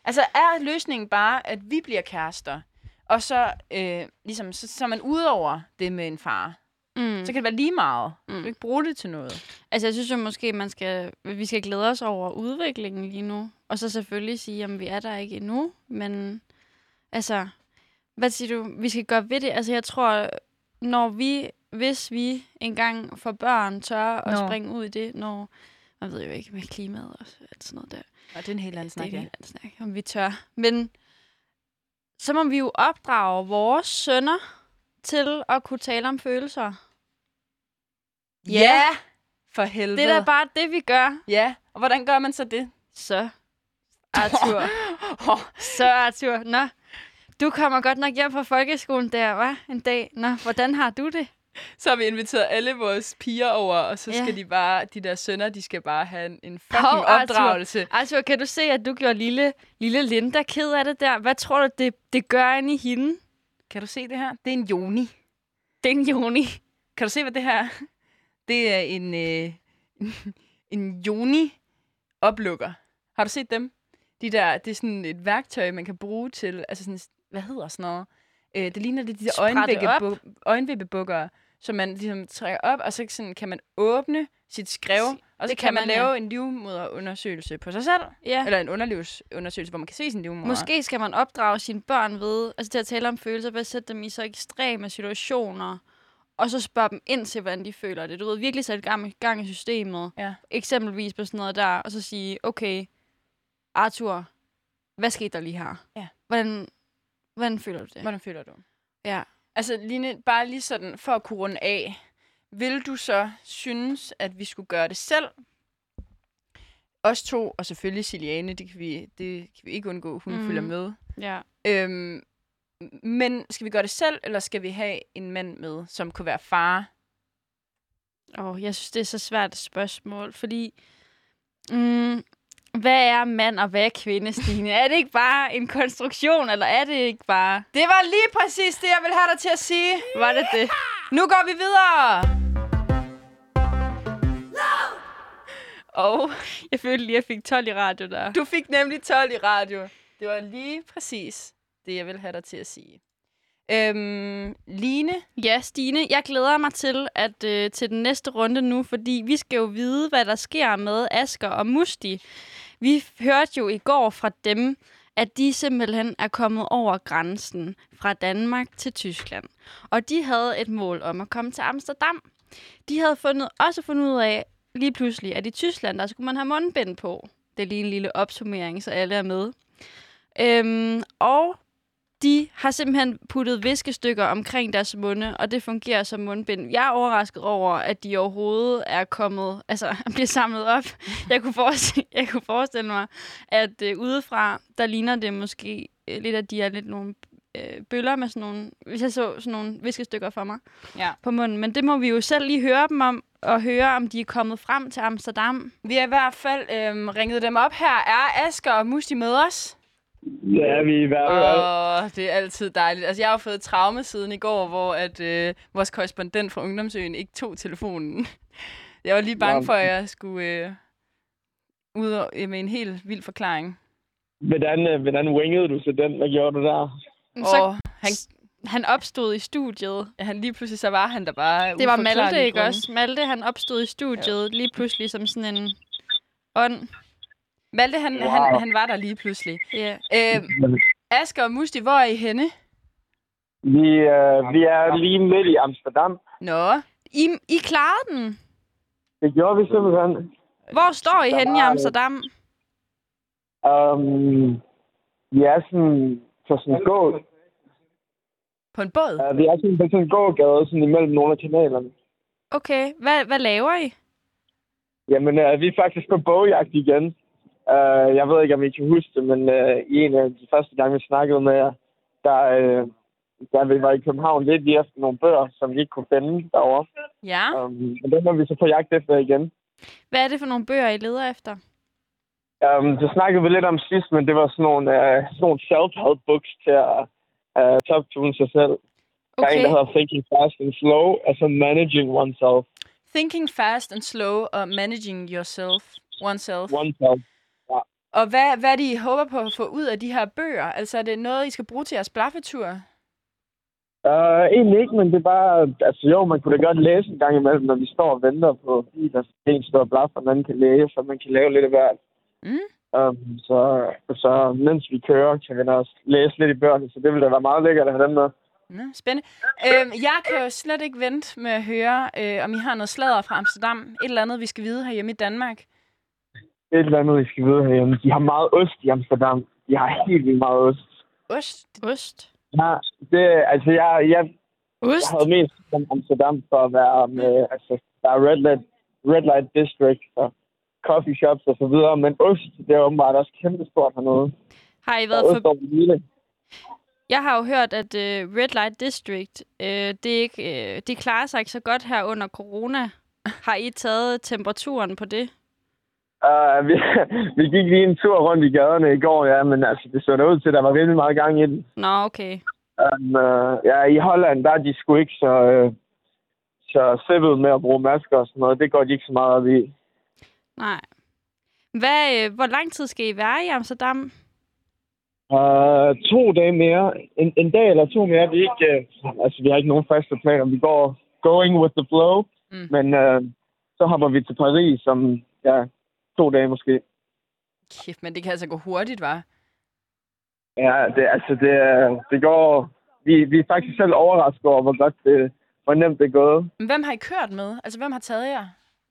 Speaker 1: Altså, er løsningen bare, at vi bliver kærester, og så, øh, ligesom, så, så er man ude over det med en far? Mm.
Speaker 2: Mm.
Speaker 1: Så kan det være lige meget. Mm.
Speaker 2: Mm.
Speaker 1: Du kan ikke bruge det til noget.
Speaker 2: Altså, jeg synes jo måske, man skal, vi skal glæde os over udviklingen lige nu. Og så selvfølgelig sige, at vi er der ikke endnu. Men altså, hvad siger du? Vi skal gøre ved det. Altså, jeg tror, når vi, hvis vi engang får børn, tør at
Speaker 1: Nå.
Speaker 2: springe ud i det, når, man ved jo ikke med klimaet og alt sådan noget der.
Speaker 1: Og det er en helt anden snak,
Speaker 2: det er
Speaker 1: ja.
Speaker 2: en helt anden snak, om vi tør. Men så må vi jo opdrage vores sønner til at kunne tale om følelser. Ja.
Speaker 1: For helvede.
Speaker 2: Det er da bare det, vi gør.
Speaker 1: Ja, og hvordan gør man så det?
Speaker 2: Så, Arthur.
Speaker 1: Oh,
Speaker 2: Så, Arthur. Nå, du kommer godt nok hjem fra folkeskolen der, var En dag. Nå, hvordan har du det?
Speaker 1: så har vi inviteret alle vores piger over, og så
Speaker 2: Ja.
Speaker 1: skal de bare, de der sønner, de skal bare have en, en fucking
Speaker 2: Hov, Arthur.
Speaker 1: opdragelse.
Speaker 2: Arthur, kan du se, at du gjorde lille, lille Linda ked af det der? Hvad tror du, det, det gør inde i hende?
Speaker 1: Kan du se det her? Det er en joni.
Speaker 2: Den Joni.
Speaker 1: Kan du se, hvad det her er? (laughs) Det er en, øh, (laughs) en joni-oplukker. Har du set dem? De der, det er sådan et værktøj, man kan bruge til, altså sådan, hvad hedder sådan noget? Øh, det ligner det, de der
Speaker 2: Sprætte
Speaker 1: øjenvippebu- øjenvippebukkere, som man ligesom trækker op, og så sådan, kan man åbne sit skrev,
Speaker 2: Se,
Speaker 1: og så
Speaker 2: det
Speaker 1: kan,
Speaker 2: kan
Speaker 1: man,
Speaker 2: man, ja.
Speaker 1: lave en livmoderundersøgelse på sig selv,
Speaker 2: Ja.
Speaker 1: eller en underlivsundersøgelse, hvor man kan se sin livmoder.
Speaker 2: Måske skal man opdrage sine børn ved, altså til at tale om følelser, ved at sætte dem i så ekstreme situationer, og så spørge dem ind til, hvordan de føler det. Du ved, virkelig sætte gang, gang i systemet.
Speaker 1: Ja.
Speaker 2: Eksempelvis på sådan noget der, og så sige, okay, Arthur, hvad skete der lige her?
Speaker 1: Ja.
Speaker 2: Hvordan, hvordan føler du det?
Speaker 1: Hvordan føler du?
Speaker 2: Ja.
Speaker 1: Altså, Line, bare lige sådan, for at kunne runde af, vil du så synes, at vi skulle gøre det selv? Os to, og selvfølgelig Siliane, det kan vi, det kan vi ikke undgå, hun mm.
Speaker 2: Mhm.
Speaker 1: følger med.
Speaker 2: ja.
Speaker 1: Øhm, men skal vi gøre det selv, eller skal vi have en mand med, som kunne være far?
Speaker 2: Åh, jeg synes, det er så svært et spørgsmål, fordi... Mm, hvad er mand, og hvad er kvinde, Stine? er det ikke bare en konstruktion, eller er det ikke bare...
Speaker 1: Det var lige præcis det, jeg ville have dig til at sige.
Speaker 2: Var det det?
Speaker 1: Nu går vi videre! Og
Speaker 2: (laughs) Jeg følte lige, at jeg fik 12 i radio der.
Speaker 1: Du fik nemlig 12 i radio. Det var lige præcis det, jeg ville have dig til at sige. Øhm, Line,
Speaker 2: Ja, Stine, jeg glæder mig til at øh, til den næste runde nu, fordi vi skal jo vide, hvad der sker med Asker og Musti. Vi f- hørte jo i går fra dem, at de simpelthen er kommet over grænsen fra Danmark til Tyskland. Og de havde et mål om at komme til Amsterdam. De havde fundet, også fundet ud af lige pludselig, at i Tyskland, der skulle man have mundbind på. Det er lige en lille opsummering, så alle er med. Øhm, og de har simpelthen puttet viskestykker omkring deres munde, og det fungerer som mundbind. Jeg er overrasket over, at de overhovedet er kommet, altså (laughs) bliver samlet op. Jeg kunne forestille, (laughs) jeg kunne forestille mig, at øh, udefra, der ligner det måske øh, lidt, at de er lidt nogle øh, bøller med sådan nogle, hvis jeg så sådan nogle viskestykker for mig
Speaker 1: Ja.
Speaker 2: på munden. Men det må vi jo selv lige høre dem om, og høre, om de er kommet frem til Amsterdam.
Speaker 1: vi har i hvert fald øhm, ringet dem op her. Er Asker og Musti med os?
Speaker 4: Ja, vi er i hvert fald.
Speaker 1: Åh, det er altid dejligt. Altså, jeg har jo fået traume siden i går, hvor at, øh, vores korrespondent fra Ungdomsøen ikke tog telefonen. Jeg var lige bange
Speaker 4: Nå.
Speaker 1: for, at jeg skulle øh, ud og, øh, med en helt vild forklaring.
Speaker 4: Hvordan, øh, hvordan wingede du til den? Hvad gjorde du der?
Speaker 2: Så
Speaker 1: og han,
Speaker 2: han opstod i studiet.
Speaker 1: han lige pludselig, så var han der bare. af
Speaker 2: Det var
Speaker 1: uforklarlige
Speaker 2: Malte, ikke
Speaker 1: grunde.
Speaker 2: også? Malte, han opstod i studiet lige pludselig som sådan en ånd.
Speaker 1: Malte, han, wow. han,
Speaker 4: Wow.
Speaker 1: han var der lige pludselig.
Speaker 2: Ja.
Speaker 1: Øh, Asger og Musti, hvor er I henne?
Speaker 4: Vi, øh, vi er lige midt i Amsterdam.
Speaker 1: Nå.
Speaker 2: I, I klarede den.
Speaker 4: Det gjorde vi simpelthen.
Speaker 2: Hvor står I
Speaker 4: Der
Speaker 2: henne i
Speaker 4: var-
Speaker 2: Amsterdam?
Speaker 4: Um, vi er sådan på sådan en gå.
Speaker 1: På en båd?
Speaker 4: Uh, vi er sådan på sådan en gågade sådan imellem nogle af kanalerne.
Speaker 2: Okay, hvad, hvad laver I?
Speaker 4: Jamen, øh, vi er faktisk på bogjagt igen. Øh, jeg ved ikke, om I kan huske det, men øh, i en af de første gange, vi snakkede med jer, der, øh, der vi var i København lidt lige efter nogle bøger, som vi ikke kunne finde derovre.
Speaker 1: Ja.
Speaker 4: Um, og dem var vi så på jagt efter igen.
Speaker 2: Hvad er det for nogle bøger, I leder efter?
Speaker 4: Øhm, øh, Um, det snakkede vi lidt om sidst, men det var sådan nogle, uh, sådan nogle self-help books til at uh, toptune sig selv. Der er en,
Speaker 2: Okay.
Speaker 4: der hedder Thinking Fast and Slow, og så Managing Oneself.
Speaker 1: Thinking fast and slow og managing yourself, oneself.
Speaker 4: oneself.
Speaker 1: Og hvad, hvad er det, I håber på at få ud af de her bøger? Altså, er det noget, I skal bruge til jeres blaffetur?
Speaker 4: Uh, egentlig ikke, men det er bare... Altså jo, man kunne da godt læse en gang imellem, når vi står og venter på biler. så En står og blaffer, den anden kan læse, så man kan lave lidt af hvert.
Speaker 1: Mm.
Speaker 4: Um, så, så mens vi kører, kan vi da også læse lidt i bøgerne, så det ville da være meget lækkert at have dem med.
Speaker 1: Nå, spændende. Øhm, jeg kan jo slet ikke vente med at høre, øh, om I har noget sladder fra Amsterdam. Et eller andet, vi skal vide herhjemme i Danmark.
Speaker 4: Det er et eller andet, I skal vide herhjemme. De har meget ost i Amsterdam. De har helt vildt meget ost.
Speaker 1: Ost.
Speaker 2: Ost.
Speaker 4: Ja, det, altså, jeg, jeg, jeg
Speaker 2: Ost?
Speaker 4: havde mest om Amsterdam for at være med, altså, der er red light, red light district og coffee shops og så videre, men ost, det er åbenbart også kæmpestort hernede.
Speaker 2: Har I
Speaker 4: Der
Speaker 2: været
Speaker 4: er
Speaker 2: for...
Speaker 4: ost over det hele.
Speaker 2: Jeg har jo hørt, at øh, Red Light District, øh, det, er ikke, øh, det klarer sig ikke så godt her under corona. Har I taget temperaturen på det?
Speaker 4: Uh, vi, (laughs) vi gik lige en tur rundt i gaderne i går, ja, men altså, det så da ud til, at der var rimelig meget gang i den.
Speaker 2: Nå, okay.
Speaker 4: Um, uh, ja, i Holland, der er de sgu ikke så, uh, så sippet med at bruge masker og sådan noget. Det går de ikke så meget op i.
Speaker 2: Nej. Hvad, øh, hvor lang tid skal I være i Amsterdam?
Speaker 4: Uh, to dage mere. En, en dag eller to mere. Vi, er ikke, uh, altså, vi har ikke nogen faste planer. Vi går going with the flow.
Speaker 1: Mm.
Speaker 4: Mm. Men uh, så hopper vi til Paris om ja, to dage måske.
Speaker 1: Kæft, men det kan altså gå hurtigt, var.
Speaker 4: Ja, det, altså, det, er- det går... Vi, vi er faktisk selv overrasket over, hvor godt det, hvor nemt det er gået.
Speaker 1: Men hvem har I kørt med? Altså, hvem har taget jer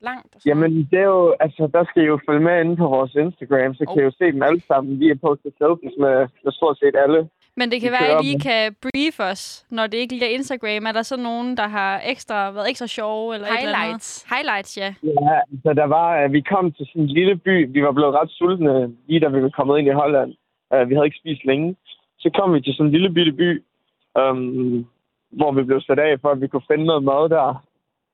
Speaker 1: langt? Og sådan noget?
Speaker 4: Jamen, det er jo... Altså, der skal I jo følge med inde på vores Instagram, så oh. kan I jo se dem alle sammen. Vi har postet selfies med, med stort set alle.
Speaker 2: Men det kan
Speaker 4: Vi
Speaker 2: være, at
Speaker 4: kører
Speaker 2: I lige
Speaker 4: dem.
Speaker 2: kan brief os, når det ikke lige er Instagram. Er der så nogen, der har ekstra, været ekstra sjove? Eller et eller andet?
Speaker 1: Highlights.
Speaker 2: Highlights, ja.
Speaker 4: Ja, altså der var, øh, vi kom til sådan en lille by. Vi var blevet ret sultne, lige da vi var kommet ind i Holland. Øh, Vi havde ikke spist længe. Så kom vi til sådan en lille bitte by, øhm, hvor vi blev sat af, for at vi kunne finde noget mad der.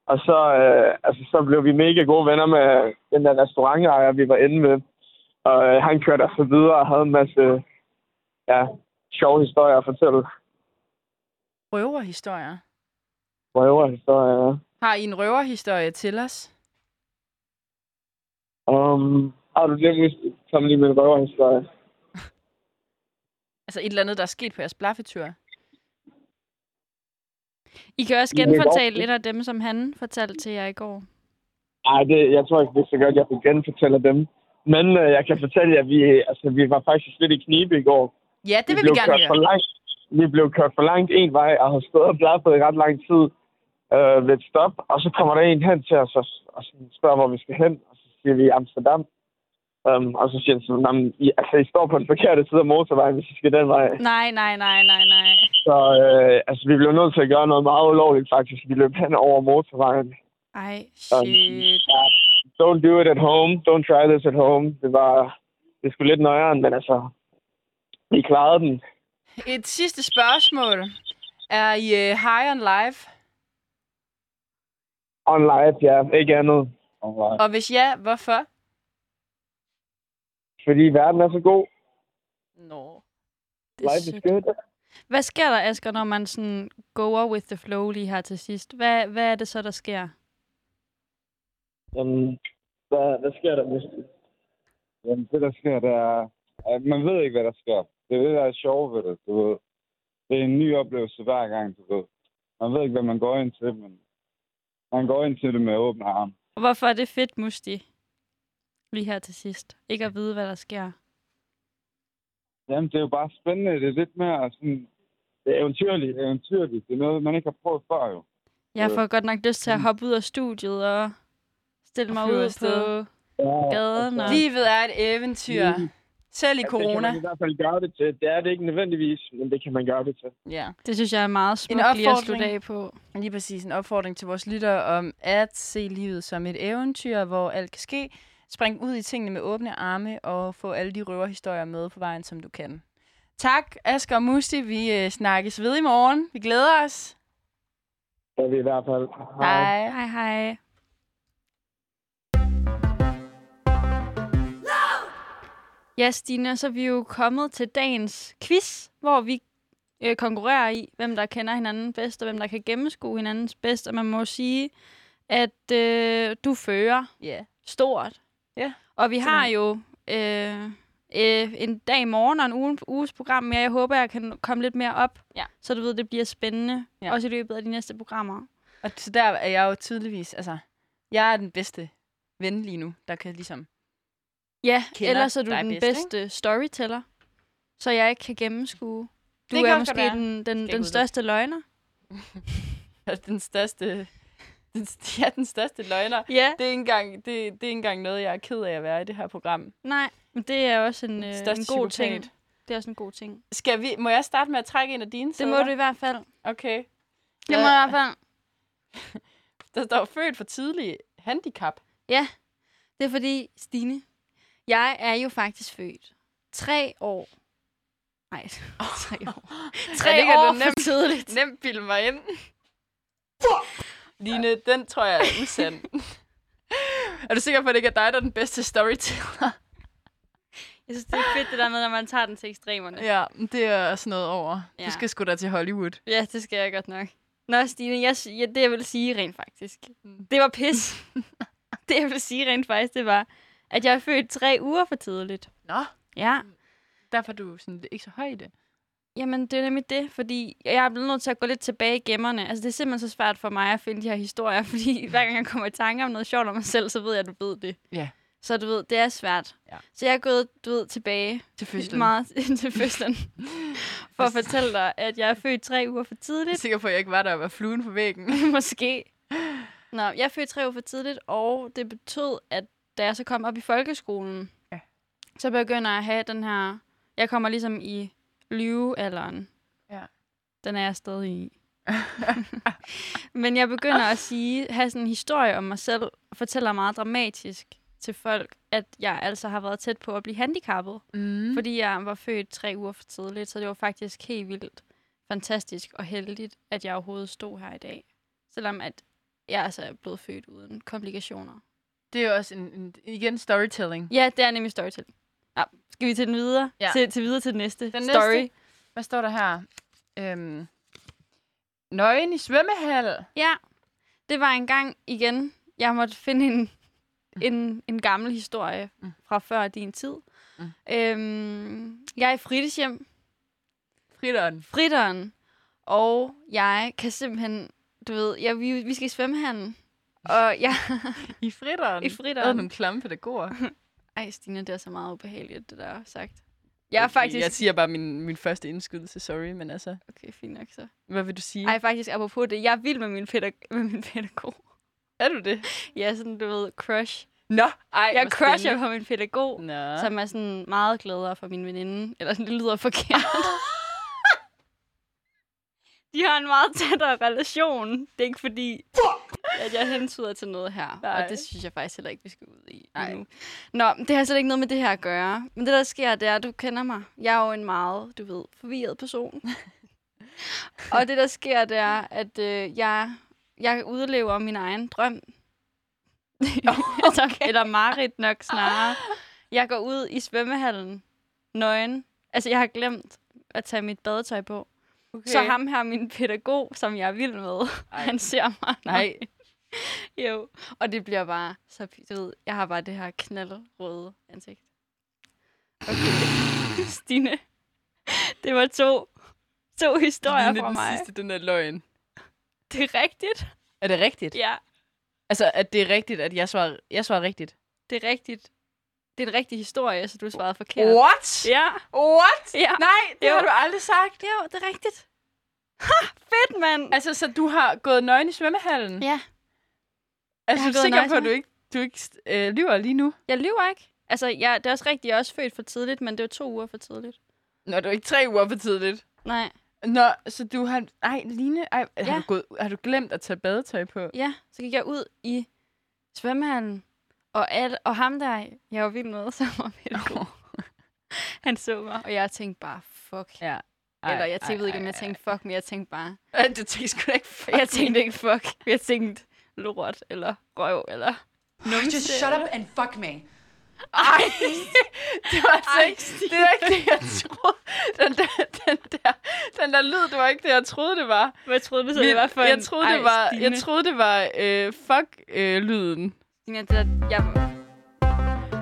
Speaker 4: Og så, øh, altså, så blev vi mega gode venner med den der restaurantejer, vi var inde med. Og øh, han kørte os så videre og havde en masse ja, sjove historier at fortælle.
Speaker 1: Røverhistorier.
Speaker 4: Røverhistorier.
Speaker 1: Har I en røverhistorie til os?
Speaker 4: Um, har du det, som lige med en røverhistorie?
Speaker 1: Altså, et eller andet, der er sket på jeres blaffetur?
Speaker 2: I kan også
Speaker 4: Ja, det er
Speaker 2: genfortælle
Speaker 4: godt.
Speaker 2: lidt af dem, som han fortalte til jer i går.
Speaker 4: Nej, det, jeg tror ikke, det er så godt, jeg kan genfortælle dem. Men øh, jeg kan fortælle jer, at vi, altså, vi var faktisk lidt i knibe i går.
Speaker 1: Ja, det vil vi
Speaker 4: blev
Speaker 1: gerne
Speaker 4: kørt for
Speaker 1: høre.
Speaker 4: langt. Vi blev kørt for langt en vej, og har stået og blaffet i ret lang tid øh, ved et stop. Og så kommer der en hen til os og, og sådan spørger, hvor vi skal hen. Og så siger vi Amsterdam. Um, og så siger han sådan, "Jamen, I, altså, I står på den forkerte side af motorvejen, hvis I skal den vej.
Speaker 2: Nej, nej, nej, nej, nej.
Speaker 4: Så øh, altså, vi blev nødt til at gøre noget meget ulovligt, faktisk. Vi løb hen over motorvejen.
Speaker 2: Ej,
Speaker 1: Shit.
Speaker 4: don't do it at home. Don't try this at home. Det var, det skulle lidt nøjeren, men altså, vi klarede den.
Speaker 1: Et sidste spørgsmål. Er I øh, high on life?
Speaker 4: On live, ja. Ikke andet. On live.
Speaker 1: Og hvis ja, hvorfor?
Speaker 4: Fordi verden er så god.
Speaker 1: Nå.
Speaker 2: det er
Speaker 4: Life is
Speaker 2: sødt.
Speaker 4: good.
Speaker 2: Hvad sker der, Asger, når man sådan goer with the flow lige her til sidst? Hvad, hvad er det så, der sker?
Speaker 4: Jamen, hvad, hvad sker der? hvis-
Speaker 5: Jamen, det der sker, det er... At man ved ikke, hvad der sker. Det er det, der er sjovt ved det, du ved. Det er en ny oplevelse hver gang, du ved. Man ved ikke, hvad man går ind til, men man går ind til det med åbne arme.
Speaker 2: Og hvorfor er det fedt, Musti? Lige her til sidst. Ikke at vide, hvad der sker.
Speaker 5: Jamen, det er jo bare spændende. Det er lidt mere sådan... Det er eventyrligt, eventyrligt. Det er noget, man ikke har prøvet før, jo.
Speaker 2: Jeg
Speaker 5: Øh.
Speaker 2: får godt nok lyst til at hoppe ud af studiet og stille
Speaker 1: Og
Speaker 2: mig
Speaker 1: flyve
Speaker 2: ud
Speaker 1: afsted.
Speaker 2: på gaden. Og...
Speaker 1: Livet er et eventyr. Selv i
Speaker 4: Det altså, kan
Speaker 1: corona.
Speaker 4: man i hvert fald gøre det til. Det er det ikke nødvendigvis, men det kan man gøre det til.
Speaker 1: Ja.
Speaker 2: Det synes jeg er meget smukt lige at
Speaker 1: opfordring.
Speaker 2: slutte af på.
Speaker 1: Lige præcis en opfordring til vores lyttere om at se livet som et eventyr, hvor alt kan ske. Spring ud i tingene med åbne arme og få alle de røverhistorier med på vejen, som du kan. Tak, Asger og Musti. Vi øh, snakkes ved i morgen. Vi glæder os.
Speaker 4: Det er vi i hvert fald.
Speaker 1: Hej.
Speaker 2: Hej, hej. Ja, Stine, så er vi jo kommet til dagens quiz, hvor vi øh, konkurrerer i, hvem der kender hinanden bedst, og hvem der kan gennemskue hinandens bedst. Og man må jo sige, at øh, du fører
Speaker 1: Ja.
Speaker 2: stort.
Speaker 1: Ja,
Speaker 2: Og vi har jo øh, øh, en dag i morgen og en uge, uges program mere. Jeg håber, jeg kan komme lidt mere op,
Speaker 1: Ja.
Speaker 2: så du ved, det bliver spændende.
Speaker 1: Ja.
Speaker 2: Ja. Også i løbet af de næste programmer.
Speaker 1: Og så der er jeg jo tydeligvis, altså, jeg er den bedste ven lige nu, der kan ligesom...
Speaker 2: Ja,
Speaker 1: Kender
Speaker 2: ellers er du
Speaker 1: dig
Speaker 2: den
Speaker 1: bedst,
Speaker 2: bedst, bedste storyteller, så jeg ikke kan gennemskue. Du
Speaker 1: Det kan
Speaker 2: er
Speaker 1: også godt
Speaker 2: måske
Speaker 1: være.
Speaker 2: den, den,
Speaker 1: ikke
Speaker 2: den
Speaker 1: udelukke.
Speaker 2: største løgner.
Speaker 1: Altså, den største... (laughs) Den, st- ja, den største løgner.
Speaker 2: Ja,
Speaker 1: Det er, ikke engang, det, det er ikke engang noget, jeg er ked af at være i det her program.
Speaker 2: nej, men det er også en, øh, en
Speaker 1: største
Speaker 2: god ting.
Speaker 1: psykopat.
Speaker 2: Det er også en god ting.
Speaker 1: Skal vi, må jeg starte med at trække en af dine
Speaker 2: Det må du i hvert fald.
Speaker 1: Okay.
Speaker 2: Det må du i hvert fald.
Speaker 1: Der står født for tidlig handicap.
Speaker 2: Ja, det er fordi, Stine, jeg er jo faktisk født tre år. Nej, (laughs) tre år. Tre
Speaker 1: ligger
Speaker 2: år
Speaker 1: du
Speaker 2: for
Speaker 1: nemt.
Speaker 2: tidligt.
Speaker 1: Nemt bilde mig ind. Line, den tror jeg er usand. (laughs) er du sikker på, at det ikke er dig, der er den bedste storyteller?
Speaker 2: Jeg synes, det er fedt det der med, når man tager den til ekstremerne.
Speaker 1: Ja, det er sådan noget over. Ja.
Speaker 2: Ja.
Speaker 1: Du skal sgu da til Hollywood.
Speaker 2: Ja, det skal jeg godt nok. Nå, Stine, jeg, sy- ja, det jeg vil sige rent faktisk, det var (laughs) pis. det jeg vil sige rent faktisk, det var, at jeg er født tre uger for tidligt.
Speaker 1: Nå,
Speaker 2: Ja.
Speaker 1: derfor er du sådan, ikke så høj i det.
Speaker 2: Jamen, det er nemlig det, fordi jeg er blevet nødt til at gå lidt tilbage i gemmerne. Altså, det er simpelthen så svært for mig at finde de her historier, (laughs) fordi hver gang jeg kommer i tanke om noget sjovt om mig selv, så ved jeg, at du ved det.
Speaker 1: Ja.
Speaker 2: Så du ved, det er svært.
Speaker 1: Ja.
Speaker 2: Så jeg er gået, du ved, tilbage
Speaker 1: Til fødslen.
Speaker 2: meget (laughs) til fødslen, for at fortælle dig, at jeg er født tre uger for
Speaker 1: Jeg er
Speaker 2: tidligt.
Speaker 1: sikker på, at jeg ikke var der og var fluen på
Speaker 2: (laughs)
Speaker 1: væggen.
Speaker 2: Måske. Nå, jeg er født tre uger for tidligt, og det betød, at da jeg så kom op i folkeskolen,
Speaker 1: Ja.
Speaker 2: så begynder jeg at have den her... Jeg kommer ligesom i lyvealderen.
Speaker 1: Ja.
Speaker 2: Den er jeg stadig i. Men jeg begynder at sige, have sådan en historie om mig selv, og fortæller meget dramatisk til folk, at jeg altså har været tæt på at blive handicappet.
Speaker 1: Mm.
Speaker 2: Fordi jeg var født tre uger for tidligt, så det var faktisk helt vildt fantastisk og heldigt, at jeg overhovedet stod her i dag. Selvom at jeg altså er blevet født uden komplikationer.
Speaker 1: Det er jo også en, en, igen storytelling.
Speaker 2: Ja, det er nemlig storytelling. Nå, skal vi til den videre?
Speaker 1: Ja.
Speaker 2: Til, til videre til den næste
Speaker 1: Den
Speaker 2: story.
Speaker 1: næste. Hvad står der her? Øhm, nøgen i svømmehal.
Speaker 2: Ja, det var en gang igen, jeg måtte finde en, en, en gammel historie
Speaker 1: Mm.
Speaker 2: fra før din tid.
Speaker 1: Mm.
Speaker 2: Øhm, jeg er i fritidshjem,
Speaker 1: Fritteren.
Speaker 2: fritteren, og jeg kan simpelthen, du ved, jeg, vi, vi skal i svømmehallen, og jeg (laughs)
Speaker 1: I fritteren?
Speaker 2: I
Speaker 1: Der er
Speaker 2: fritteren.
Speaker 1: nogle klamme pædagoger.
Speaker 2: Ej, Stine, det er så meget ubehageligt, det der er sagt. Jeg er faktisk...
Speaker 1: Jeg siger bare min, min første indskydelse, sorry, men altså...
Speaker 2: Okay, fint nok så.
Speaker 1: Hvad vil du sige?
Speaker 2: Ej, faktisk, apropos det, jeg er vild med min, pædag- med min pædagog.
Speaker 1: er du det?
Speaker 2: Jeg er sådan, du ved, crush.
Speaker 1: Nå, ej,
Speaker 2: Jeg crusher på min pædagog,
Speaker 1: Nå.
Speaker 2: som er sådan meget gladere for min veninde. Eller sådan, det lyder (laughs) forkert. De har en meget tættere relation. Det er ikke fordi, at jeg hensyder til noget her. Nej.
Speaker 1: Nej.
Speaker 2: Og det synes jeg faktisk heller ikke, vi skal ud i
Speaker 1: Nej.
Speaker 2: endnu. Nå, det har slet ikke noget med det her at gøre. Men det, der sker, det er, at du kender mig. Jeg er jo en meget, du ved, forvirret (laughs) person. og det, der sker, det er, at øh, jeg, jeg udlever min egen (laughs) drøm. okay. Eller Marit nok snarere. Jeg går ud i svømmehallen. Nøgen. Altså, jeg har glemt at tage mit badetøj på.
Speaker 1: okay.
Speaker 2: Okay. Så ham her, min pædagog, som jeg er vild med,
Speaker 1: Ej.
Speaker 2: han ser mig.
Speaker 1: Nej,
Speaker 2: (laughs) Jo, og det bliver bare så... p- Du ved, jeg har bare det her knaldrøde ansigt. Okay. (laughs) Stine, det var to, to historier
Speaker 1: lige
Speaker 2: fra
Speaker 1: den
Speaker 2: mig.
Speaker 1: sidste, den der løgn.
Speaker 2: Det er rigtigt.
Speaker 1: Er det rigtigt?
Speaker 2: Ja,
Speaker 1: Altså, at det er rigtigt, at jeg svarer, jeg svarer rigtigt.
Speaker 2: det er rigtigt. Det er en rigtig historie, så du svarede forkert.
Speaker 1: What?
Speaker 2: Ja,
Speaker 1: What?
Speaker 2: ja.
Speaker 1: Nej, det
Speaker 2: Jo.
Speaker 1: har du aldrig sagt.
Speaker 2: Jo, det er rigtigt. Ha, fedt, mand.
Speaker 1: Altså, så du har gået nøgen i svømmehallen?
Speaker 2: Ja.
Speaker 1: Altså,
Speaker 2: har
Speaker 1: er du
Speaker 2: gået
Speaker 1: sikker
Speaker 2: nøgen
Speaker 1: på,
Speaker 2: i
Speaker 1: at du ikke, du ikke øh, lyver lige nu?
Speaker 2: Jeg lyver ikke. Altså, jeg, det er også rigtigt, jeg er også født for tidligt, men det er jo to uger for tidligt.
Speaker 1: Nå, det er ikke tre uger for tidligt.
Speaker 2: Nej,
Speaker 1: Nå, så du har... Ej, Line, ej, ja. har,
Speaker 2: Ja.
Speaker 1: du gået, har du glemt at tage badetøj på?
Speaker 2: ja, så gik jeg ud i svømmehallen, og, al, og ham der, jeg var vild med, (laughs) som var pædagog, han så mig, og jeg tænkte bare, fuck.
Speaker 1: Ja.
Speaker 2: Ej, Eller jeg tænkte, ved ikke, om jeg tænkte fuck, men jeg tænkte bare,
Speaker 1: Ej, du tænkte sgu da ikke fuck.
Speaker 2: (laughs) jeg tænkte ikke fuck, (laughs) jeg tænkte lort, eller røv, eller numse.
Speaker 6: Just shut
Speaker 2: (laughs)
Speaker 6: up and fuck me.
Speaker 1: Ej, det var altså ikke, det var ikke det, jeg troede. Den der, den der, Den der lyd, det var ikke det, jeg troede, det var.
Speaker 2: (laughs) Hvad troede du så,
Speaker 1: Vi-
Speaker 2: det var for
Speaker 1: jeg,
Speaker 2: en?
Speaker 1: troede,
Speaker 2: Ej,
Speaker 1: det var,
Speaker 2: Stine.
Speaker 1: jeg troede, det var øh, fuck-lyden.
Speaker 2: Stine, det der, jeg,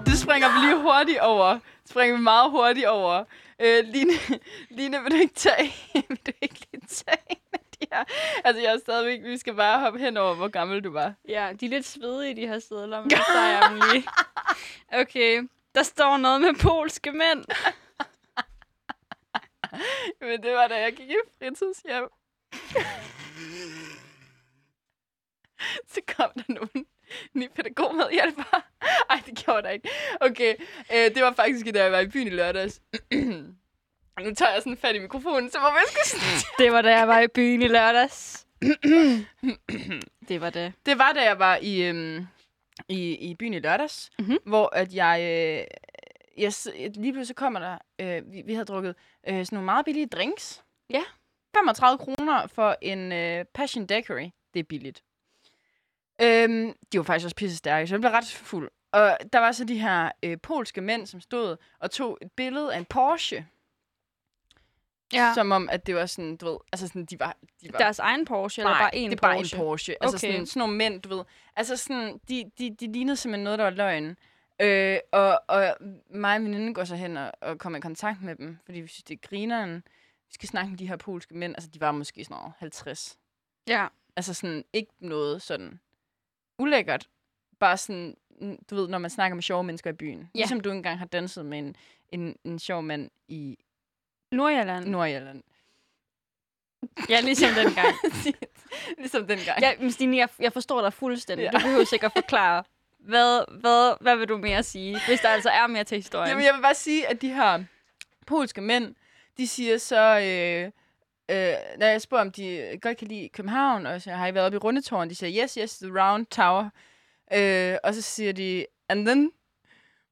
Speaker 1: det springer vi lige hurtigt over. Det springer vi meget hurtigt over. Øh, Line, (laughs) Line, vil du ikke tage (laughs) vil du ikke lige tage en af de her? Altså, jeg er stadigvæk, vi skal bare hoppe hen over, hvor gammel du var.
Speaker 2: Ja, de er lidt svedige, de her sædler, (laughs) men så tager jeg dem lige. Okay, der står noget med polske mænd.
Speaker 1: Men det var da, jeg gik i fritidshjem. (laughs) Så kom der nogen ny pædagog med hjælper. Ej, det gjorde der ikke. Okay, øh, det var faktisk, da jeg var i byen i lørdags. (clears throat) nu tager jeg sådan fat i mikrofonen, så må man (clears throat) skal sådan...
Speaker 2: Det var da jeg var i byen i lørdags. det var det.
Speaker 1: Det var, da jeg var i, øhm, i, i byen i lørdags,
Speaker 2: Mhm.
Speaker 1: mm-hmm. hvor at jeg, øh, jeg... s- Lige pludselig så kommer der... Øh, vi, vi havde drukket øh, sådan nogle meget billige drinks.
Speaker 2: Ja.
Speaker 1: 35 kroner for en øh, Passion Daiquiri. Det er billigt. Øhm, de var faktisk også pisse stærke, så jeg blev ret fuld. Og der var så de her øh, polske mænd, som stod og tog et billede af en Porsche.
Speaker 2: Ja.
Speaker 1: Som om, at det var sådan, du ved... Altså sådan, de var... De var
Speaker 2: Deres egen Porsche, eller bare en
Speaker 1: det er bare
Speaker 2: Porsche?
Speaker 1: en Porsche. Okay. Altså
Speaker 2: Okay.
Speaker 1: sådan, sådan nogle mænd, du ved. Altså sådan, de, de, de lignede simpelthen noget, der var løgn. Øh, og, og mig og min veninde går så hen og, og kommer i kontakt med dem, fordi vi synes, det er grineren. Vi skal snakke med de her polske mænd. Altså, de var måske sådan over 50.
Speaker 2: Ja.
Speaker 1: Altså sådan, ikke noget sådan ulækkert. Bare sådan, mm, du ved, når man snakker med sjove mennesker i byen. Ja. Ligesom du engang har danset med en, en, en sjov mand i
Speaker 2: Nordjylland.
Speaker 1: Nordjylland.
Speaker 2: Ja, ligesom (laughs) dengang.
Speaker 1: ligesom dengang.
Speaker 2: Ja, men Stine, jeg, jeg forstår dig fuldstændig.
Speaker 1: Ja.
Speaker 2: Du behøver sikkert forklare, hvad, hvad, hvad vil du mere sige, hvis der altså er mere til historien?
Speaker 1: Jamen, jeg vil bare sige, at de her polske mænd, de siger så... Øh, øh, når jeg spørger, om de godt kan lide København, og så har I været oppe i Rundetårn, de siger, yes, yes, the round tower. Øh, og så siger de, and then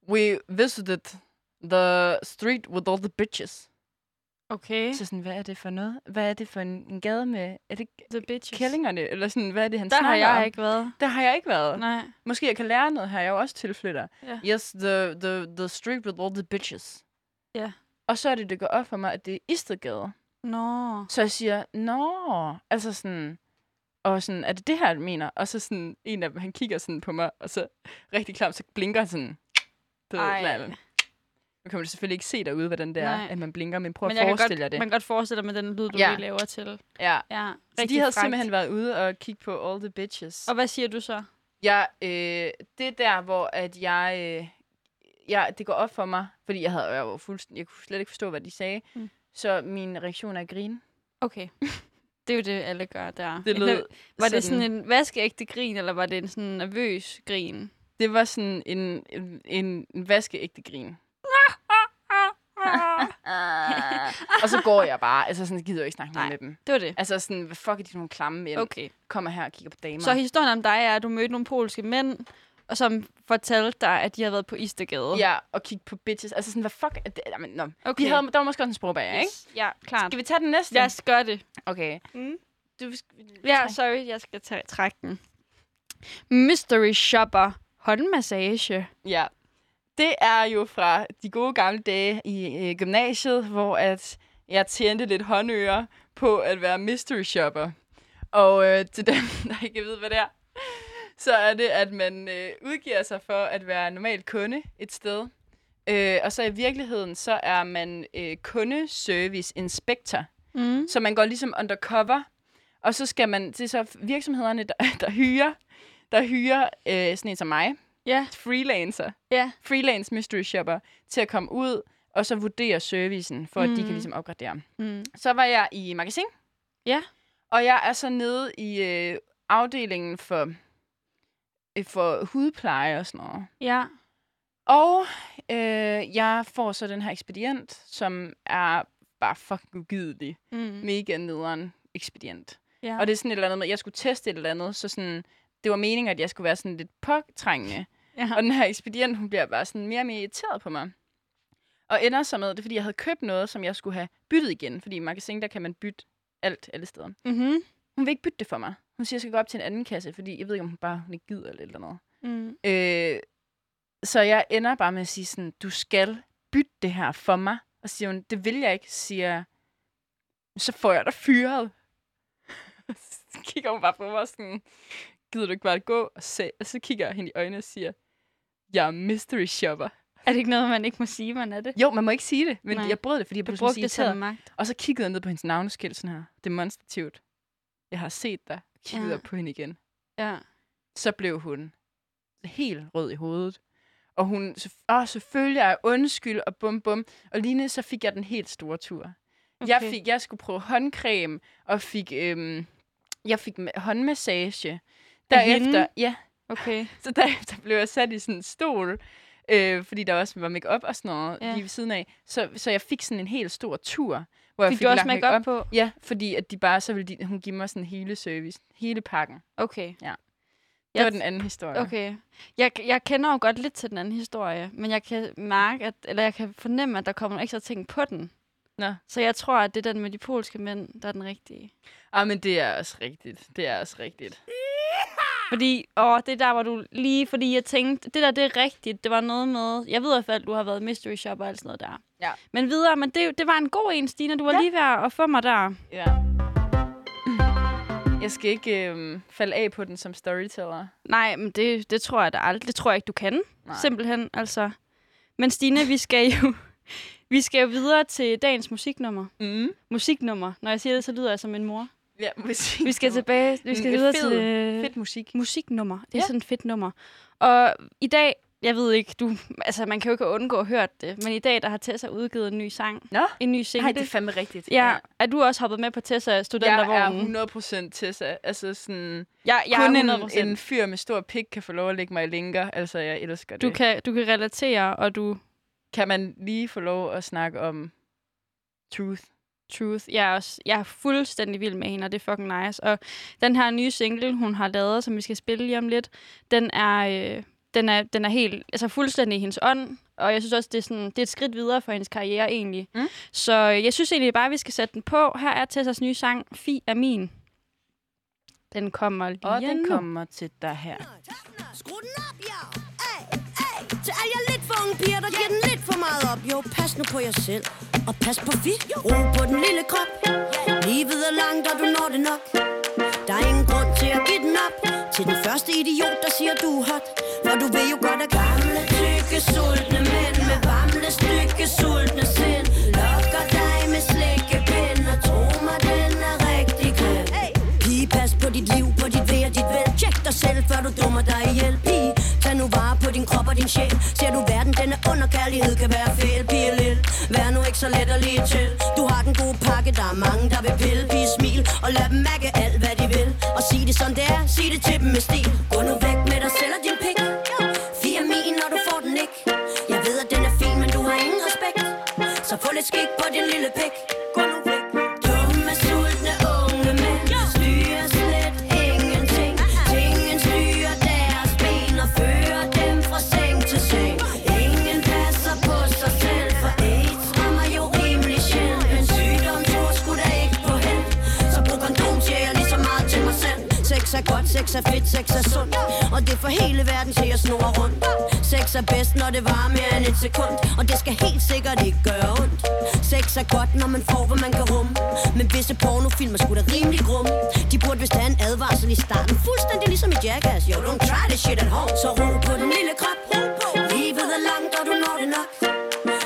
Speaker 1: we visited the street with all the bitches.
Speaker 2: Okay.
Speaker 1: Så sådan, hvad er det for noget? Hvad er det for en, en gade med... Er det
Speaker 2: The bitches.
Speaker 1: kællingerne? Eller sådan, hvad er det, han
Speaker 2: Der
Speaker 1: snakker
Speaker 2: har jeg
Speaker 1: om?
Speaker 2: ikke været.
Speaker 1: Der har jeg ikke været.
Speaker 2: Nej.
Speaker 1: Måske jeg kan lære noget her. Jeg er jo også tilflytter.
Speaker 2: Ja.
Speaker 1: Yes, the, the, the street with all the bitches.
Speaker 2: Ja.
Speaker 1: Og så er det, det går op for mig, at det er Istedgade.
Speaker 2: Nå.
Speaker 1: Så jeg siger, nå, altså sådan, og sådan, er det det her, du mener? Og så sådan, en af dem, han kigger sådan på mig, og så rigtig klamt, så blinker han sådan. Du ved,
Speaker 2: Ej.
Speaker 1: nej, nej. Nu kan man selvfølgelig ikke se derude, hvordan det er,
Speaker 2: Nej.
Speaker 1: at man blinker, men prøv at
Speaker 2: men jeg kan
Speaker 1: forestille jer
Speaker 2: godt,
Speaker 1: det.
Speaker 2: man kan godt forestille dig med den lyd, du
Speaker 1: Ja.
Speaker 2: ja. lige laver til.
Speaker 1: Ja.
Speaker 2: Ja,
Speaker 1: Så de havde simpelthen været ude og kigge på All the Bitches.
Speaker 2: Og hvad siger du så?
Speaker 1: Jeg, øh, det er der, hvor at jeg, øh, jeg, det går op for mig, fordi jeg, havde, jeg, var fuldstændig, jeg kunne slet ikke forstå, hvad de sagde.
Speaker 2: Mm.
Speaker 1: Mm. Så min reaktion er at grine.
Speaker 2: Okay. (laughs) det er jo det, alle gør der.
Speaker 1: Det lød
Speaker 2: Eller, var det sådan en vaskeægte grin, eller var det en sådan nervøs grin?
Speaker 1: det var sådan en, en, en, en vaskeægte
Speaker 2: (laughs)
Speaker 1: grin. og så går jeg bare. Altså sådan, gider jeg ikke snakke mere
Speaker 2: Nej.
Speaker 1: med dem.
Speaker 2: Det var det.
Speaker 1: Altså sådan, hvad fuck er de for nogle klamme mænd? Okay.
Speaker 2: Okay.
Speaker 1: Kommer her og kigger på damer.
Speaker 2: Så historien om dig er, at du mødte nogle polske mænd, og som fortalte dig, at de havde været på Istegade.
Speaker 1: Ja, og kigge på bitches. Altså sådan, hvad fuck er det? Jamen, nå. Okay.
Speaker 2: Okay.
Speaker 1: Vi havde, der var måske også en sprogbager, ikke?
Speaker 2: Yes. Ja, klart.
Speaker 1: Skal vi tage den næste?
Speaker 2: Lad os gøre det.
Speaker 1: Okay.
Speaker 2: Mm.
Speaker 1: Du,
Speaker 2: Ja, sorry, jeg skal tage, trække den. Mystery shopper. Håndmassage.
Speaker 1: Ja. Det er jo fra de gode gamle dage i øh, gymnasiet, hvor at jeg tjente lidt håndører på at være mystery shopper. Og øh, til dem, (laughs) der ikke ved, hvad det er, så er det, at man øh, udgiver sig for at være normal kunde et sted. Øh, og så i virkeligheden, så er man øh, kundeservice inspector.
Speaker 2: Mm.
Speaker 1: Så man går ligesom undercover, og så skal man, det er så virksomhederne, der, (laughs) der hyrer, der hyrer øh, sådan en som mig,
Speaker 2: Ja.
Speaker 1: freelancer,
Speaker 2: Ja.
Speaker 1: freelance mystery shopper, til at komme ud og så vurdere servicen, for at mm. de
Speaker 2: Mhm.
Speaker 1: kan ligesom opgradere.
Speaker 2: Mm.
Speaker 1: Så var jeg i magasin.
Speaker 2: Ja.
Speaker 1: Og jeg er så nede i øh, afdelingen for, øh, for hudpleje og sådan noget.
Speaker 2: Ja.
Speaker 1: Og øh, jeg får så den her ekspedient, som er bare fucking ugidelig
Speaker 2: Mm.
Speaker 1: mega nederen ekspedient.
Speaker 2: ja.
Speaker 1: Og det er sådan et eller andet med, at jeg skulle teste et eller andet, så sådan, det var meningen, at jeg skulle være sådan lidt påtrængende.
Speaker 2: Ja.
Speaker 1: Og den her ekspedient, hun bliver bare sådan mere og mere irriteret på mig. Og ender så med, det er, fordi jeg havde købt noget, som jeg skulle have byttet igen. Fordi i magasin, der kan man bytte alt alle steder.
Speaker 2: Mm-hmm.
Speaker 1: Hun vil ikke bytte det for mig. Hun siger, jeg skal gå op til en anden kasse, fordi jeg ved ikke, om hun bare hun ikke gider eller et eller andet.
Speaker 2: Mm.
Speaker 1: Øh, så jeg ender bare med at sige sådan, du skal bytte det her for mig. Og så siger hun, det vil jeg ikke, Så siger jeg, så får jeg dig fyret. (laughs) så kigger hun bare på mig sådan, gider du ikke bare gå? Og, se? og så kigger jeg hende i øjnene og siger, jeg er mystery shopper.
Speaker 2: Er det ikke noget, man ikke må sige, man er det?
Speaker 1: Jo, man må ikke sige det, men
Speaker 2: Nej.
Speaker 1: Nej. jeg brød det, fordi jeg
Speaker 2: Du
Speaker 1: blev
Speaker 2: brugte
Speaker 1: sådan
Speaker 2: det til
Speaker 1: irriteret.
Speaker 2: magt.
Speaker 1: Og så kiggede jeg ned på hendes navneskilt sådan her, demonstrativt. Jeg har set dig. Kiggede
Speaker 2: Ja.
Speaker 1: ja. op på hende igen.
Speaker 2: Ja.
Speaker 1: Så blev hun helt rød i hovedet. Og hun, "Selvf- åh, selvfølgelig er jeg undskyld, og bum bum. Og lige så fik jeg den helt store tur. Okay. Jeg,
Speaker 2: Okay.
Speaker 1: fik, jeg skulle prøve håndcreme, og fik, øhm, jeg fik ma- håndmassage.
Speaker 2: Af hende?
Speaker 1: Derefter, ja,
Speaker 2: Okay.
Speaker 1: så derefter blev jeg sat i sådan en stol, øh, fordi der også var makeup og sådan noget
Speaker 2: Ja.
Speaker 1: ja. lige ved siden af. Så, så jeg fik sådan en helt stor tur, hvor jeg
Speaker 2: Fik
Speaker 1: fik
Speaker 2: du også
Speaker 1: lagt
Speaker 2: make op
Speaker 1: makeup
Speaker 2: på?
Speaker 1: Ja, fordi at de bare, så ville de, hun give mig sådan hele service, hele pakken. Det
Speaker 2: Okay.
Speaker 1: jeg
Speaker 2: Jeg-
Speaker 1: var den anden historie.
Speaker 2: Okay. Jeg, jeg kender jo godt lidt til den anden historie, men jeg kan mærke, at, eller jeg kan fornemme, at der kommer nogle ekstra ting på den.
Speaker 1: Nå.
Speaker 2: Så jeg tror, at det er den med de polske mænd, der er den rigtige.
Speaker 1: Ah, men det er også rigtigt. Det er også rigtigt.
Speaker 2: Fordi, åh, det er der, hvor du lige, fordi jeg tænkte, det der, det er rigtigt. Det var noget med, jeg ved i hvert fald, du har været mystery shopper og alt sådan noget der.
Speaker 1: Ja.
Speaker 2: Men videre, men det, det var en god en, Stine. Du var ja.
Speaker 1: Ja.
Speaker 2: lige ved at få mig der.
Speaker 1: Ja. Jeg skal ikke øh, falde af på den som storyteller.
Speaker 2: Nej, men det, det tror jeg da aldrig. Det tror jeg ikke, du kan. Nej.
Speaker 1: Nej.
Speaker 2: Simpelthen, altså. Men Stine, vi skal jo... (laughs) Vi skal jo videre til dagens musiknummer.
Speaker 1: Mm.
Speaker 2: Musiknummer. Når jeg siger det, så lyder jeg som en mor.
Speaker 1: Ja, (laughs) musik.
Speaker 2: Vi skal tilbage. Vi skal
Speaker 1: Mm,
Speaker 2: videre
Speaker 1: fed-
Speaker 2: til øh,
Speaker 1: Fedt musik.
Speaker 2: musiknummer. Det er ja.
Speaker 1: Ja.
Speaker 2: sådan et fedt nummer. Og i dag, jeg ved ikke, du, altså man kan jo ikke undgå at høre det, men i dag, der har Tessa udgivet en ny sang.
Speaker 1: Nå.
Speaker 2: En ny single.
Speaker 1: Nej, det er fandme rigtigt.
Speaker 2: ja. Er du også hoppet med på Tessa
Speaker 1: Jeg
Speaker 2: studentervognen?
Speaker 1: er 100% Tessa. Altså sådan,
Speaker 2: jeg, jeg
Speaker 1: kun
Speaker 2: er
Speaker 1: en,
Speaker 2: 100%.
Speaker 1: en fyr med stor pik kan få lov at lægge mig i linker. Altså, jeg elsker det.
Speaker 2: du, kan, du kan relatere, og du...
Speaker 1: kan man lige få lov at snakke om truth?
Speaker 2: Truth. Jeg er, også, jeg er fuldstændig vild med hende, og det er fucking nice. Og den her nye single, hun har lavet, som vi skal spille lige om lidt, den er, øh, den er, den er helt, altså fuldstændig i hendes ånd. Og jeg synes også, det er, sådan, det er et skridt videre for hendes karriere egentlig.
Speaker 1: Mm.
Speaker 2: Så øh, jeg synes egentlig bare, at vi skal sætte den på. Her er Tessas nye sang, Fi er min. Den kommer lige
Speaker 1: Og den
Speaker 2: nu.
Speaker 1: kommer til dig her.
Speaker 6: Skru den op, ja! Ay, ay. Til alle jer lidt for unge piger, der giver den lidt for meget op. Jo, pas nu på jer selv. Og pas på vi. Ro på den lille krop. Livet er langt, og du når det nok. Der er ingen grund til at give den op. Til den første idiot, der siger, du er hot. For du ved jo godt, at gamle, tykke, sultne mænd med varmle, stykke, sultne sind. Lokker dig med slikkepind, og tro mig, den er rigtig grim. Pige, pas på dit liv, på dit ved og dit vel. Tjek dig selv, før du dummer dig ihjel. Pige, tag nu vare på din krop og din sjæl. Ser du verden, den er under kærlighed, kan være fæl. Pige, lille, vær nu ikke så let og lige til. Du har den gode pakke, der er mange, der vil pille. Pige, smil og lad dem mærke alt, hvad de vil. Og sig det som det er, sig det til dem med stil. Gå nu væk med dig selv og din pik. Fire min, når du får den ikke. Jeg ved, at den er fin, men du har ingen respekt. Så få lidt skik på din lille pik. Gå nu væk. Dumme, sultne unge mænd styrer slet ingenting. Tingen styrer deres ben og fører dem fra seng til seng. Ingen passer på sig selv, for AIDS rammer jo rimelig sjældent. En sygdom tror sgu da ikke på held. Så brug kondom, siger jeg ligesom lige så meget til mig selv. Sex er godt, sex er fedt, sex er sundt Og det får hele verden til at snurre rundt Sex er bedst, når det varer mere end et sekund Og det skal helt sikkert ikke gøre ondt Sex er godt, når man får, hvad man kan rumme Men visse pornofilm er sgu da rimelig grumme De burde vist have en advarsel i starten Fuldstændig ligesom i Jackass Yo, don't try this shit at home Så ro på den lille krop Livet er langt, og du når det nok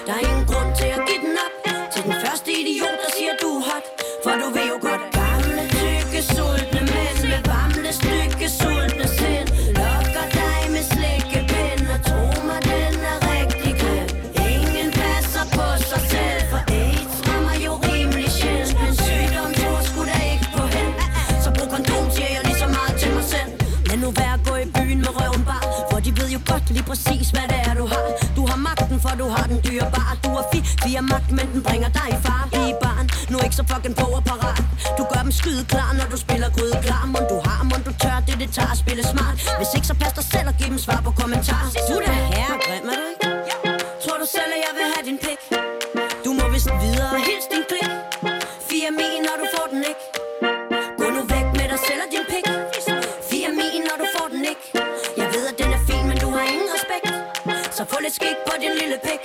Speaker 6: Der er ingen grund til at give den op Til den første idiot, der siger du er hot For du ved jo godt Gamle, tykke, sultne mænd Med varmle, stykke, sultne sind Lokker dig med slikkepind Og tro mig, den er rigtig grim Ingen passer på sig selv For AIDS rammer jo rimelig sjældent Men sygdom tror sgu da ikke på held Så brug kondom, siger jeg lige så meget til mig selv Lad nu være at gå i byen med røven bar For de ved jo godt lige præcis, hvad det er, du har Du har magten, for du har den dyre bar Du er fi, vi er magt, men den bringer dig i far Vi er barn, nu er ikke så fucking på og parat Du gør dem skyde klar, når du spiller gryde klar Mon du har, mon du tør, det det tager at spille smart Hvis ikke, så pas dig selv og giv dem svar på kommentar Du er da herre, grim er du ikke? Tror du selv, at jeg vil have din pik? Du må vist videre, hils din klik Fire min, når du får den ikke Gå nu væk med dig selv og din pik Fire min, når du får den ikke Jeg ved, at den er fin, men du har ingen respekt Så få lidt skik på din lille pik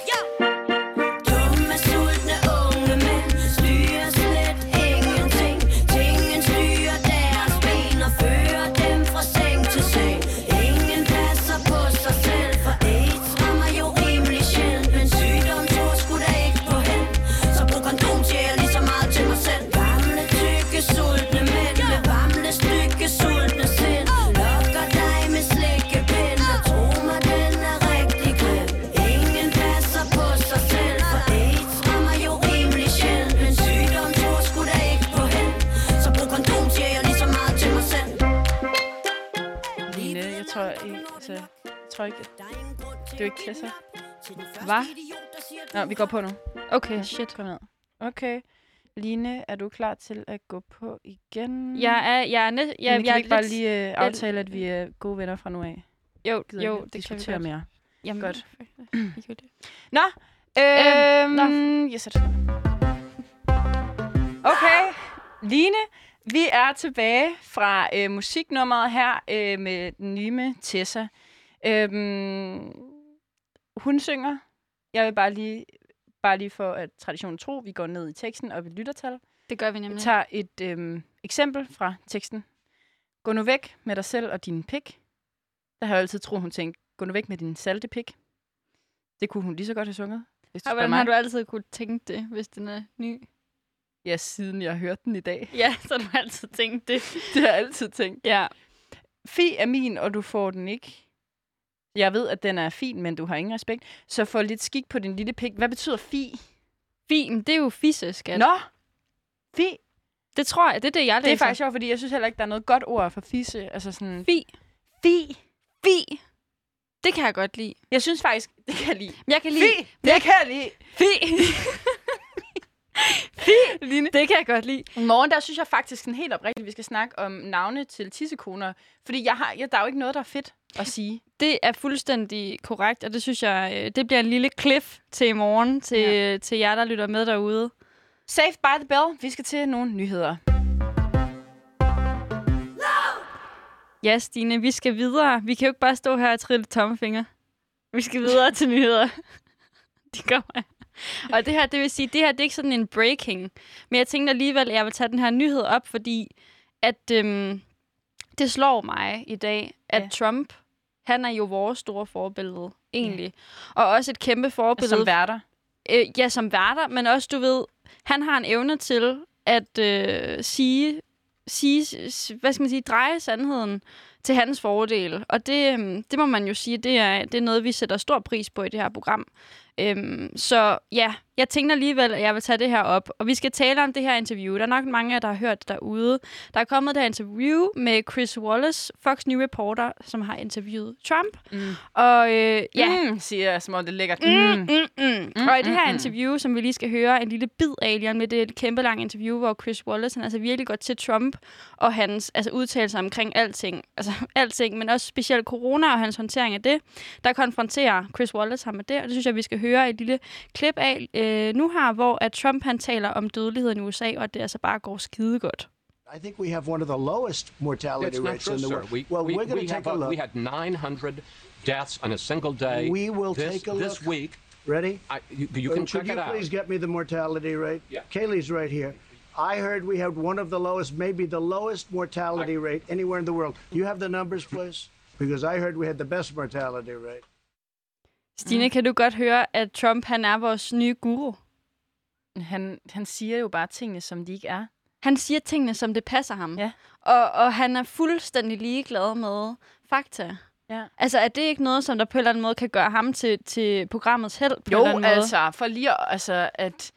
Speaker 6: Dumme, sultne unge mænd Styrer slet ingen
Speaker 1: altså, tror ikke.
Speaker 6: Der er ingen grund til
Speaker 1: Du er
Speaker 6: at
Speaker 1: ikke til
Speaker 6: give
Speaker 1: så.
Speaker 6: den op til den første
Speaker 1: Hva?
Speaker 6: idiot, der siger,
Speaker 1: Nå,
Speaker 6: du
Speaker 1: vi går på nu.
Speaker 2: Okay, shit.
Speaker 1: Kom ned. Okay. Line, er du klar til at gå på igen?
Speaker 2: Jeg er, jeg er, næ- jeg,
Speaker 1: Line,
Speaker 2: jeg,
Speaker 1: kan
Speaker 2: jeg
Speaker 1: vi
Speaker 2: er
Speaker 1: ikke bare
Speaker 2: lidt-
Speaker 1: lige øh, aftale, at vi er gode venner fra nu af?
Speaker 2: Jo,
Speaker 1: Gider
Speaker 2: jo,
Speaker 1: ikke at
Speaker 2: det kan vi
Speaker 1: diskutere
Speaker 2: godt.
Speaker 1: mere.
Speaker 2: Jamen,
Speaker 1: Godt.
Speaker 2: Godt.
Speaker 1: Øhm,
Speaker 2: nå.
Speaker 1: yes, det Okay, Line, vi er tilbage fra øh, musiknummeret her øh, med den nye med Tessa. Øhm, hun synger. Jeg vil bare lige, bare lige for at traditionen tro, vi går ned i teksten og vi lytter tal.
Speaker 2: (clears throat) Det gør vi
Speaker 1: Jeg
Speaker 2: nemlig.
Speaker 1: tager et øhm, eksempel fra teksten. Gå nu væk med dig selv og din pik. Der har jeg altid troet, hun tænkte, gå nu væk med din salte pik. Det kunne hun lige så godt have sunget. Hvis du
Speaker 2: Og
Speaker 1: spørger
Speaker 2: hvordan
Speaker 1: mig.
Speaker 2: har du altid kunne tænke det, hvis den er ny?
Speaker 1: Ja, siden jeg hørte den i dag.
Speaker 2: (laughs)
Speaker 1: (laughs)
Speaker 2: Ja, så har du altid tænkt det.
Speaker 1: Det har jeg altid tænkt.
Speaker 2: Ja.
Speaker 1: Fi er min, og du får den ikke. Jeg ved, at den er fin, men du har ingen respekt. Så få lidt skik på din lille pik. Hvad betyder fi?
Speaker 2: Fin, det er jo fisse, skat.
Speaker 1: Nå! Fi!
Speaker 2: Det tror jeg, det er det, jeg læser.
Speaker 1: Det er faktisk sjovt, fordi jeg synes heller ikke, der er noget godt ord for fisse. Altså sådan...
Speaker 2: Fi.
Speaker 1: Fi!
Speaker 2: Fi. Det kan jeg godt lide.
Speaker 1: Jeg synes faktisk, (laughs) det kan jeg lide.
Speaker 2: Jeg kan lide...
Speaker 1: Fi! Det kan jeg lide.
Speaker 2: (laughs) Fi. Fi. Line. Det kan jeg godt lide.
Speaker 1: I morgen, der synes jeg faktisk sådan helt oprigtigt, at vi skal snakke om navne til tissekoner. Fordi jeg har, jeg, der er jo ikke noget, der er fedt at sige.
Speaker 2: Det er fuldstændig korrekt, og det synes jeg, øh, det bliver en lille cliff til i morgen, til, ja. til jer, der lytter med derude.
Speaker 1: Safe by the bell. Vi skal til nogle nyheder.
Speaker 2: Ja, Stine, vi skal videre. Vi kan jo ikke bare stå her og trille tommelfinger. Vi skal videre til nyheder. (laughs) Det kommer jeg. Og det her, det vil sige, det her det er ikke sådan en breaking. Men jeg tænkte alligevel, at jeg vil tage den her nyhed op, fordi at øhm, det slår mig i dag, at
Speaker 1: Ja.
Speaker 2: ja. Trump, han er jo vores store forbillede, egentlig. Ja. Og også et kæmpe forbillede
Speaker 1: Som værter.
Speaker 2: øh, ja, som værter, men også, du ved, han har en evne til at øh, sige, sige, s- hvad skal man sige, dreje sandheden til hans fordel. Og det, øhm, det må man jo sige, det er, det er noget, vi sætter stor pris på i det her program. Øhm, så ja, jeg tænkte alligevel, at jeg vil tage det her op. Og vi skal tale om det her interview. Der er nok mange af jer, der har hørt det derude. Der er kommet det her interview med Chris Wallace, Fox News reporter, som har interviewet Trump.
Speaker 1: Mm.
Speaker 2: Og øh, ja,
Speaker 1: Mm, siger jeg, som om det er lækkert.
Speaker 2: Mm,
Speaker 1: Mm.
Speaker 2: mm, mm.
Speaker 1: Mm,
Speaker 2: Mm, og i det
Speaker 1: mm,
Speaker 2: her
Speaker 1: mm.
Speaker 2: interview, som vi lige skal høre en lille bid af lige om lidt, det er et kæmpe langt interview, hvor Chris Wallace, han altså virkelig går til Trump og hans altså udtalelser omkring alting. (laughs) Altså alting, men også specielt corona og hans håndtering af det. Der konfronterer Chris Wallace ham med det, og det synes jeg, vi skal høre et lille klip af øh, nu her, hvor at Trump han taler om dødeligheden i USA, og at det altså bare går skide godt.
Speaker 7: I think we have one of the lowest mortality
Speaker 8: That's not
Speaker 7: rates
Speaker 8: true,
Speaker 7: in the
Speaker 8: sir.
Speaker 7: world.
Speaker 8: We,
Speaker 7: well,
Speaker 8: we,
Speaker 7: are going
Speaker 8: we
Speaker 7: to take
Speaker 8: have,
Speaker 7: a
Speaker 8: uh,
Speaker 7: look.
Speaker 8: We had 900 deaths on a single day.
Speaker 7: We will
Speaker 8: this,
Speaker 7: take a
Speaker 8: This
Speaker 7: look.
Speaker 8: week,
Speaker 7: Ready?
Speaker 8: I, you, you can
Speaker 7: Uh, Could
Speaker 8: check
Speaker 7: you
Speaker 8: it out.
Speaker 7: please get me the mortality rate?
Speaker 8: Yeah.
Speaker 7: Kaylee's right here. I heard we had one of the lowest, maybe the lowest mortality rate anywhere in the world. Do you have the numbers, please? Because I heard we had the best mortality rate.
Speaker 2: Stine, mm. kan du godt høre, at Trump han er vores nye guru?
Speaker 1: Mm. Han, han siger jo bare tingene, som de ikke er.
Speaker 2: Han siger tingene, som det passer ham.
Speaker 1: Ja.
Speaker 2: Og, og han er fuldstændig ligeglad med fakta.
Speaker 1: Ja.
Speaker 2: Altså, er det ikke noget, som der på en eller anden måde kan gøre ham til, til programmets held? På en eller
Speaker 1: Jo,
Speaker 2: anden
Speaker 1: altså, for lige at- altså, at,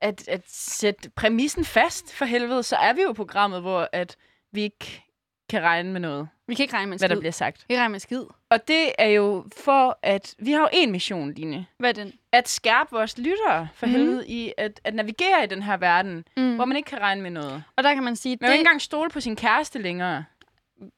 Speaker 1: at, at sætte præmissen fast for helvede, så er vi jo i programmet, hvor at vi ikke kan regne med noget,
Speaker 2: Måde? Vi kan ikke regne med en
Speaker 1: hvad
Speaker 2: skid.
Speaker 1: der bliver sagt.
Speaker 2: Vi kan regne med en skid.
Speaker 1: Og det er jo for, at vi har jo en mission, Line.
Speaker 2: Hvad er den?
Speaker 1: At skærpe vores lyttere for mm. helvede i at, at navigere i den her verden, mm.
Speaker 2: Mm.
Speaker 1: hvor man ikke kan regne med noget.
Speaker 2: Og der kan man sige,
Speaker 1: Man kan jo ikke
Speaker 2: det...
Speaker 1: engang stole på sin kæreste længere.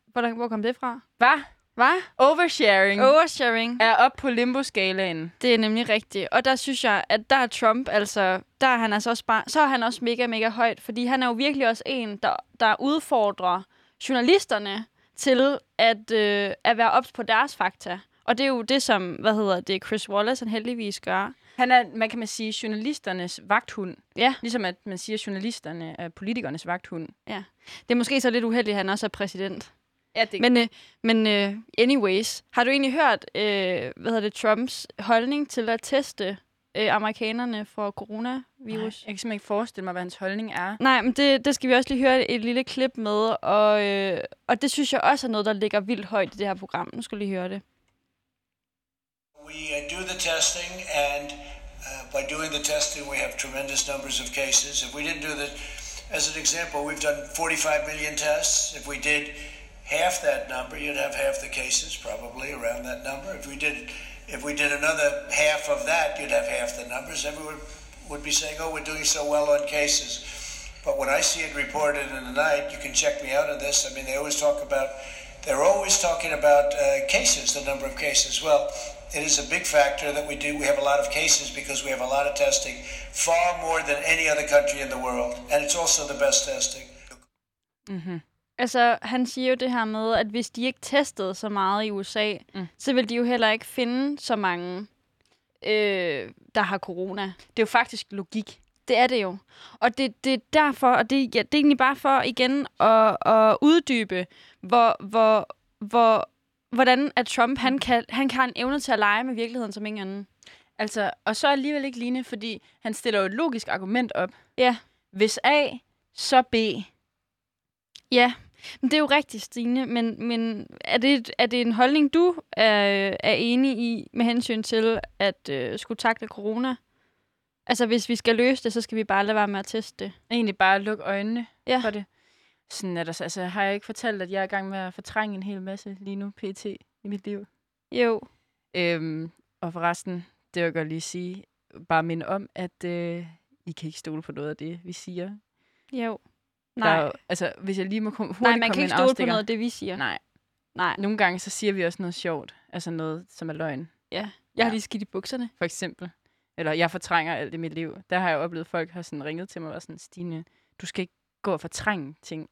Speaker 2: Hvordan, hvor kom det fra?
Speaker 1: Hvad?
Speaker 2: Hvad?
Speaker 1: Oversharing oh.
Speaker 2: Oversharing.
Speaker 1: er op på limbo-skalaen.
Speaker 2: Det er nemlig rigtigt. Og der synes jeg, at der er Trump, altså, der er han altså også bare, så er han også mega, mega højt, fordi han er jo virkelig også en, der, der udfordrer journalisterne til at, øh, at være ops på deres fakta. Og det er jo det, som, hvad hedder det, Chris Wallace, han heldigvis gør.
Speaker 1: Han er, man kan man sige, journalisternes vagthund.
Speaker 2: Ja.
Speaker 1: Ligesom at man siger, at journalisterne er politikernes vagthund.
Speaker 2: Det er måske så lidt uheldigt, at han også er præsident.
Speaker 1: Ja, det
Speaker 2: Men, øh, men øh, anyways, har du egentlig hørt, øh, hvad hedder det, Trumps holdning til at teste øh, amerikanerne for
Speaker 1: Nej,
Speaker 2: coronavirus?
Speaker 1: jeg kan simpelthen ikke forestille mig, hvad hans holdning er.
Speaker 2: Nej, men det, det skal vi også lige høre et lille klip med, og, øh, og det synes jeg også er noget, der ligger vildt højt i det her program. Nu skal du lige høre det.
Speaker 9: We uh, do the testing, and uh, by doing the testing, we have tremendous numbers of cases. If we didn't do the, as an example, we've done 45 million tests. If we did half that number, you'd have half the cases probably around that number. If we did, if we did another half of that, you'd have half the numbers. Everyone would be saying, "Oh, we're doing so well on cases." But when I see it reported in the night, you can check me out on this. I mean, they always talk about, they're always talking about uh, cases, the number of cases. Well, it is a big factor that we do. We have a lot of cases because we have a lot of testing, far more than any other country in the world, and it's also the best testing.
Speaker 2: Altså, han siger jo det her med, at hvis de ikke testede så meget i USA, mm. så ville de jo heller ikke finde så mange, øh, der har corona.
Speaker 1: Det er jo faktisk logik.
Speaker 2: Det er det jo. Og det, det er derfor, og det, ja, det er egentlig bare for igen at, at uddybe, hvor, hvor, hvor, hvordan at Trump, han kan, han kan have en evne til at lege med virkeligheden som ingen anden.
Speaker 1: Altså, og så alligevel ikke lignende, fordi han stiller jo et logisk argument op.
Speaker 2: Ja.
Speaker 1: Hvis A, så B.
Speaker 2: Ja, men det er jo rigtigt, Stine, men, men er, det, er det en holdning, du er, er enig i med hensyn til at øh, skulle takle corona? Altså, hvis vi skal løse det, så skal vi bare lade være med at teste det.
Speaker 1: Egentlig bare lukke øjnene
Speaker 2: Ja.
Speaker 1: for det. Sådan er der, så- altså, har jeg ikke fortalt, at jeg er i gang med at fortrænge en hel masse lige nu, pt. i mit liv?
Speaker 2: Jo.
Speaker 1: Øhm, og forresten, det vil jeg godt lige sige, bare minde om, at øh, I kan ikke stole på noget af det, vi siger.
Speaker 2: Jo.
Speaker 1: Der er
Speaker 2: Nej,
Speaker 1: jo, altså, hvis jeg lige må komme, hurtigt
Speaker 2: Nej man
Speaker 1: komme
Speaker 2: kan
Speaker 1: med
Speaker 2: ikke
Speaker 1: en
Speaker 2: stole på
Speaker 1: afstikker.
Speaker 2: noget af det, vi siger.
Speaker 1: Nej.
Speaker 2: Nej.
Speaker 1: Nogle gange, så siger vi også noget sjovt. Altså noget, som er løgn,
Speaker 2: Jeg har
Speaker 1: Ja.
Speaker 2: lige skidt i bukserne.
Speaker 1: for eksempel. Eller jeg fortrænger alt i mit liv. Der har jeg oplevet, at folk har sådan ringet til mig og været sådan, Stine, du skal ikke gå og fortrænge ting.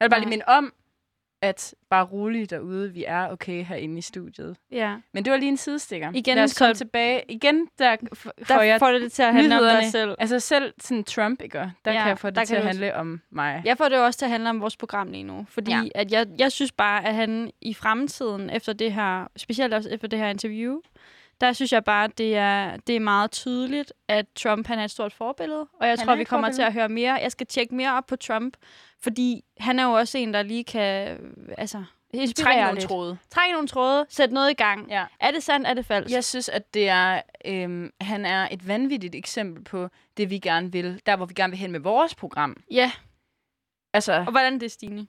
Speaker 1: Jeg vil bare lige
Speaker 2: Nej.
Speaker 1: minde om, at bare roligt derude, vi er okay herinde i studiet.
Speaker 2: Ja.
Speaker 1: Men det var lige en sidestikker.
Speaker 2: Igen,
Speaker 1: Lad os
Speaker 2: så-
Speaker 1: komme tilbage. Igen, der, f- får
Speaker 2: Der
Speaker 1: jeg
Speaker 2: får du det til at handle om dig
Speaker 1: nyhederne.
Speaker 2: selv.
Speaker 1: Altså selv sådan Trump, ikke? Og Der
Speaker 2: Ja,
Speaker 1: ja, kan jeg få det
Speaker 2: der
Speaker 1: til
Speaker 2: kan
Speaker 1: at
Speaker 2: du-
Speaker 1: handle om mig.
Speaker 2: Jeg får det jo også til at handle om vores program lige nu. Fordi ja.
Speaker 1: Ja.
Speaker 2: at jeg, jeg synes bare, at han i fremtiden, efter det her, specielt også efter det her interview, der synes jeg bare, at det er, det er meget tydeligt, at Trump han er et stort forbillede. Og jeg
Speaker 1: Han
Speaker 2: tror,
Speaker 1: er
Speaker 2: vi
Speaker 1: et
Speaker 2: kommer til
Speaker 1: forbillede.
Speaker 2: at høre mere. Jeg skal tjekke mere op på Trump, fordi han er jo også en, der lige kan øh, altså, inspirere
Speaker 1: Træk nogle
Speaker 2: lidt.
Speaker 1: tråde.
Speaker 2: Træk nogle tråde, sæt noget i gang.
Speaker 1: Ja.
Speaker 2: Er det sandt, er det falsk?
Speaker 1: Jeg synes, at det er, øhm, han er et vanvittigt eksempel på det, vi gerne vil. Der, hvor vi gerne vil hen med vores program.
Speaker 2: Ja, og
Speaker 1: Altså,
Speaker 2: hvordan er det, Stine?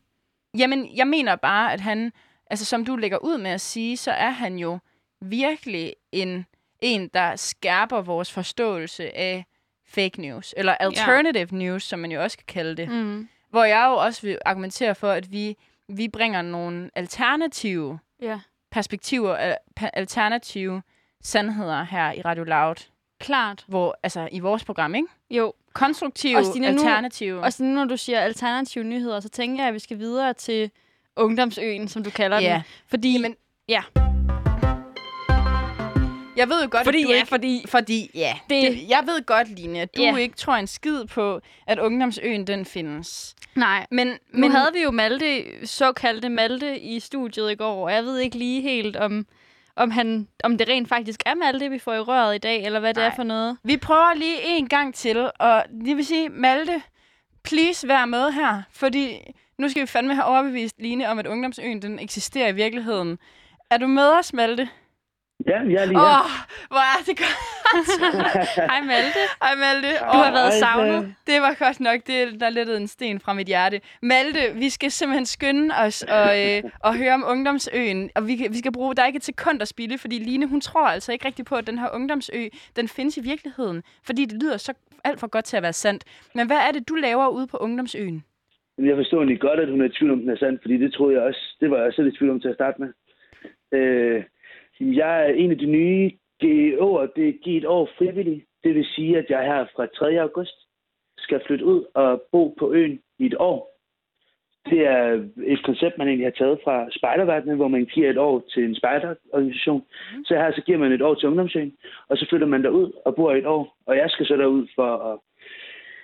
Speaker 1: jamen, jeg mener bare, at han, altså som du lægger ud med at sige, så er han jo virkelig en, en der skærper vores forståelse af fake news, eller alternative ja. news, som man jo også kan kalde det.
Speaker 2: Mm.
Speaker 1: Hvor jeg jo også vil argumentere for, at vi, vi bringer nogle alternative
Speaker 2: Ja.
Speaker 1: perspektiver, al- pa- alternative sandheder her i Radio Loud.
Speaker 2: Klart.
Speaker 1: hvor, altså, i vores program, ikke?
Speaker 2: Jo,
Speaker 1: Konstruktive,
Speaker 2: Og Stine, nu-
Speaker 1: alternative.
Speaker 2: Og sådan, når du siger alternative nyheder, så tænker jeg, at vi skal videre til ungdomsøen, som du kalder
Speaker 1: Ja.
Speaker 2: den. Fordi,
Speaker 1: Jamen,
Speaker 2: ja,
Speaker 1: jeg ved jo godt,
Speaker 2: Fordi
Speaker 1: at du
Speaker 2: ja,
Speaker 1: ikke... Fordi, fordi ja.
Speaker 2: Det-
Speaker 1: Det, det, jeg ved godt, Line, at du
Speaker 2: Ja.
Speaker 1: ikke tror en skid på, at ungdomsøen, den findes.
Speaker 2: nej.
Speaker 1: Men,
Speaker 2: Men nu
Speaker 1: men
Speaker 2: havde vi jo Malte, såkaldte Malte, i studiet i går, og jeg ved ikke lige helt, om, om, han, om det rent faktisk er Malte, vi får i røret i dag, eller hvad det er
Speaker 1: Nej.
Speaker 2: for noget.
Speaker 1: vi prøver lige en gang til, og det vil sige, Malte, please vær med her, fordi nu skal vi fandme have overbevist Line om, at ungdomsøen, den eksisterer i virkeligheden. Er du med os, Malte?
Speaker 10: Ja, jeg er lige
Speaker 1: Åh,
Speaker 10: her.
Speaker 1: oh, hvor er det godt. (laughs)
Speaker 2: Hej Malte.
Speaker 1: Hej Malte.
Speaker 2: Du har været
Speaker 10: Hej,
Speaker 4: øh,
Speaker 2: savnet.
Speaker 1: Det var godt nok, det der lettede en sten fra mit hjerte. Malte, vi skal simpelthen skynde os og, øh, og høre om ungdomsøen, og vi, kan- vi skal bruge, der er ikke et sekund at spille, fordi Line, hun tror altså ikke rigtigt på, at den her ungdomsø, den findes i virkeligheden, fordi det lyder så alt for godt til at være sandt. Men hvad er det, du laver ude på ungdomsøen?
Speaker 10: Jeg forstår egentlig godt, at hun er i tvivl om, den er sand, fordi det troede jeg også. Det var jeg også selv i tvivl om til at starte med. Øh, jeg er en af de nye GO'er. Det er givet år frivillig. Det vil sige, at jeg her fra 3. august skal flytte ud og bo på øen i et år. Det er et koncept, man egentlig har taget fra spejderverdenen, hvor man giver et år til en spejderorganisation. Så her så giver man et år til ungdomsøen, og så flytter man derud og bor i et år. Og jeg skal så derud for at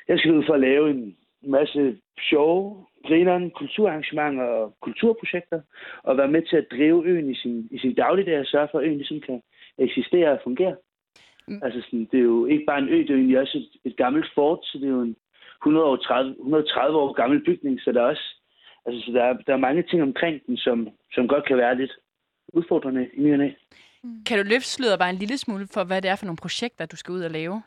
Speaker 10: jeg skal ud for at lave en masse sjove, grineren, kulturarrangementer og kulturprojekter, og være med til at drive øen i sin, i sin dagligdag og sørge for, at øen ligesom kan eksistere og fungere.
Speaker 1: Mm.
Speaker 10: Mm. Altså, sådan, det er jo ikke bare en ø, det er jo egentlig også et, et gammelt fort, så det er jo en 100 år, 30, 130 år gammel bygning, så der er også altså, så der, er, der er mange ting omkring den, som, som godt kan være lidt udfordrende i ny og næ.
Speaker 1: Kan du løfte sløret bare en lille smule for, hvad det er for nogle projekter, du skal ud og lave?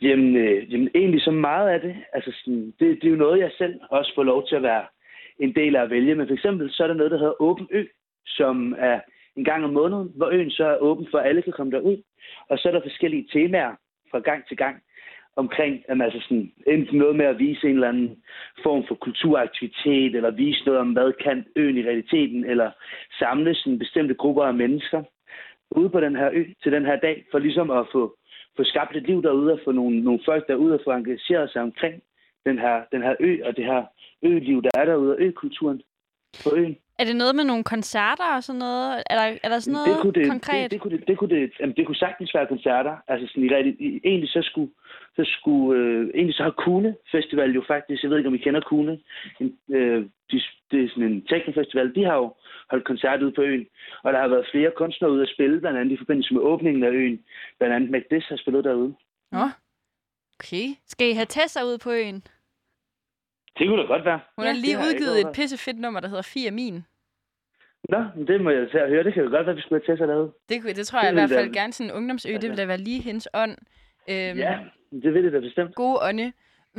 Speaker 10: Jamen, øh, jamen egentlig så meget af det. Altså, sådan, det, det er jo noget, jeg selv også får lov til at være en del af at vælge. Men for eksempel så er der noget, der hedder Åben Ø, som er en gang om måneden, hvor øen så er åben for, at alle kan komme derud. Og så er der forskellige temaer fra gang til gang omkring, jamen, altså sådan, enten noget med at vise en eller anden form for kulturaktivitet, eller vise noget om, hvad kan øen i realiteten, eller samle sådan bestemte grupper af mennesker ude på den her ø til den her dag, for ligesom at få, få skabt et liv derude, og få nogle, nogle folk derude, og få engageret sig omkring den her, den her ø, og det her øliv, der er derude, og økulturen på øen.
Speaker 2: Er det noget med nogle koncerter og sådan noget? Er der, er der sådan noget det kunne det, konkret?
Speaker 10: Det, det, kunne det, det, kunne det, jamen, det kunne sagtens være koncerter. Altså sådan, i, rigtig- i, egentlig så skulle, så skulle øh, egentlig så har Kune Festival jo faktisk, jeg ved ikke om I kender Kune, en, øh, de, det er sådan en teknofestival, de har jo holdt koncert ude på øen, og der har været flere kunstnere ude at spille, blandt andet i forbindelse med åbningen af øen, blandt andet Mac Dis har spillet derude.
Speaker 1: Nå, okay.
Speaker 2: Skal I have Tessa ud på øen?
Speaker 10: Det kunne da godt være.
Speaker 1: Hun har
Speaker 10: Ja,
Speaker 1: lige
Speaker 10: det har jeg ikke
Speaker 1: udgivet et
Speaker 10: overvejet.
Speaker 1: pissefedt nummer, der hedder Fie er min.
Speaker 10: Nå, men det må jeg tage og høre. Det kan jo godt være, at vi skulle have Tessa derude.
Speaker 1: Det, kunne- det tror jeg i
Speaker 10: ville
Speaker 1: hvert fald
Speaker 10: da-
Speaker 1: gerne sådan en ungdomsø. Det ville da være lige hendes ånd. Øhm,
Speaker 10: Ja, Mm. det vil det da bestemt.
Speaker 1: Gode ånde.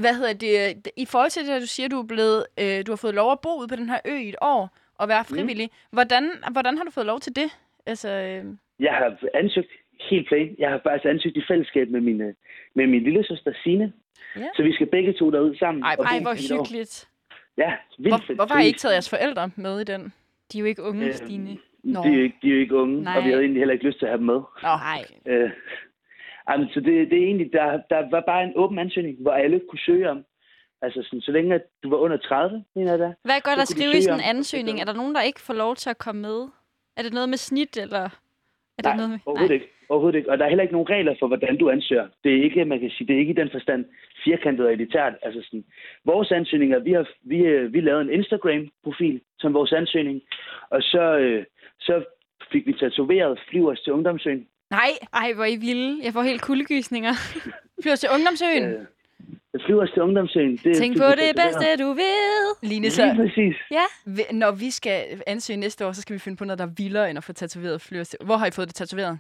Speaker 1: Hvad hedder det? I forhold til det, at du siger, du er blevet, øh, du har fået lov at bo ude på den her ø i et år og være frivillig. Mm. Hvordan, hvordan har du fået lov til det? Altså, øh,
Speaker 10: Jeg har ansøgt helt plain. Jeg har faktisk ansøgt i fællesskab med min, øh, med min lille søster Sine.
Speaker 1: Ja.
Speaker 10: Så vi skal begge to derud sammen.
Speaker 1: ej,
Speaker 10: og
Speaker 1: ej,
Speaker 10: bo
Speaker 1: hvor
Speaker 10: i et år.
Speaker 1: hyggeligt.
Speaker 10: Ja, vildt
Speaker 1: Hvor,
Speaker 10: fedt.
Speaker 1: hvorfor har I
Speaker 10: Det-
Speaker 1: ikke taget jeres forældre med i den?
Speaker 2: De er jo ikke unge,
Speaker 10: Øh,
Speaker 2: Stine.
Speaker 1: Nå.
Speaker 10: De er, jo ikke, de er jo ikke unge,
Speaker 2: Nej.
Speaker 10: og vi havde egentlig heller ikke lyst til at have dem med.
Speaker 1: Nå, nej.
Speaker 10: Øh, jamen, så det, det er egentlig, der, der var bare en åben ansøgning, hvor alle kunne søge om. Altså, sådan, så længe at du var under 30, mener jeg da.
Speaker 2: Hvad gør der
Speaker 10: så kunne du
Speaker 2: skrive
Speaker 10: søge
Speaker 2: i sådan
Speaker 10: om-
Speaker 2: en ansøgning? Er der nogen, der ikke får lov til at komme med? Er det noget med snit, eller... Er det
Speaker 10: Nej,
Speaker 2: noget med...
Speaker 10: overhovedet ikke. Overhovedet ikke. Og der er heller ikke nogen regler for, hvordan du ansøger. Det er ikke, man kan sige, det er ikke i den forstand firkantet og elitært. Altså sådan, vores ansøgninger, vi har vi, øh, vi lavede en Instagram-profil som vores ansøgning, og så, øh, så fik vi tatoveret flyvers til ungdomsøen.
Speaker 1: Nej,
Speaker 2: Ej, hvor er I vilde. Jeg får helt kuldegysninger.
Speaker 1: flyver til ungdomsøen.
Speaker 10: Øh, flyvers til ungdomsøen. Det
Speaker 2: Tænk
Speaker 10: fik
Speaker 2: på
Speaker 10: vi
Speaker 2: det
Speaker 10: tatoveret.
Speaker 2: bedste, du ved.
Speaker 1: Line, så
Speaker 10: Lige præcis.
Speaker 1: vi- når vi skal ansøge næste år, så skal vi finde på noget, der er vildere end at få tatoveret flyver til. Hvor har I fået det tatoveret?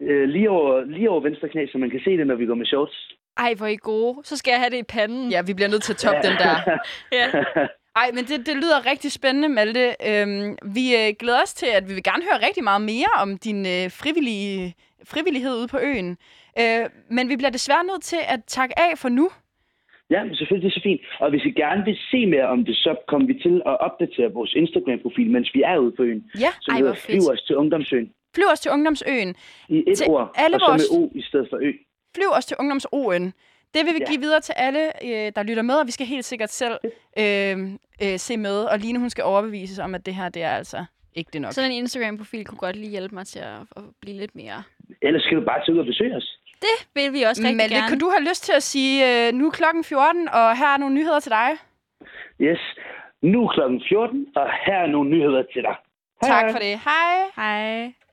Speaker 10: Øh, lige, over, lige over venstre knæ, så man kan se det, når vi går med shorts.
Speaker 2: Ej, hvor er I gode. Så skal jeg have det i panden.
Speaker 1: Ja, vi bliver nødt til at toppe den der.
Speaker 2: Mm. ja.
Speaker 1: Ej, men det, det lyder rigtig spændende, Malte. Øhm, vi øh, glæder os til, at vi vil gerne høre rigtig meget mere om din øh, frivillige, frivillighed ude på øen. Øh, men vi bliver desværre nødt til at takke af for nu.
Speaker 10: Ja, men selvfølgelig, det er så fint. Og hvis I gerne vil se mere om det, så kommer vi til at opdatere vores Instagram-profil, mens vi er ude på øen.
Speaker 1: Ja,
Speaker 10: Som
Speaker 2: ej,
Speaker 10: hedder
Speaker 2: hvor fedt.
Speaker 10: Flyv os til Ungdomsøen.
Speaker 1: Flyv os til Ungdomsøen.
Speaker 10: I et
Speaker 1: Til
Speaker 10: ord,
Speaker 1: alle
Speaker 10: og så
Speaker 1: vores-
Speaker 10: med O i stedet for Ø.
Speaker 1: Flyv os til Ungdoms-ON. Det vil vi
Speaker 10: Ja.
Speaker 1: give videre til alle, øh, der lytter med, og vi skal helt sikkert selv øh, øh, se med. Og Line, hun skal overbevises om, at det her, det er altså ikke det nok.
Speaker 2: Sådan en Instagram-profil kunne godt lige hjælpe mig til at, at blive lidt mere...
Speaker 10: Ellers skal du bare tage ud og besøge os.
Speaker 2: Det vil vi også rigtig
Speaker 1: Malte,
Speaker 2: gerne.
Speaker 1: kunne du have lyst til at sige, øh, nu er klokken 14, og her er nogle nyheder til dig?
Speaker 10: Yes. Nu er klokken 14, og her er nogle nyheder til dig.
Speaker 1: Tak for det. Hej.
Speaker 2: Hej.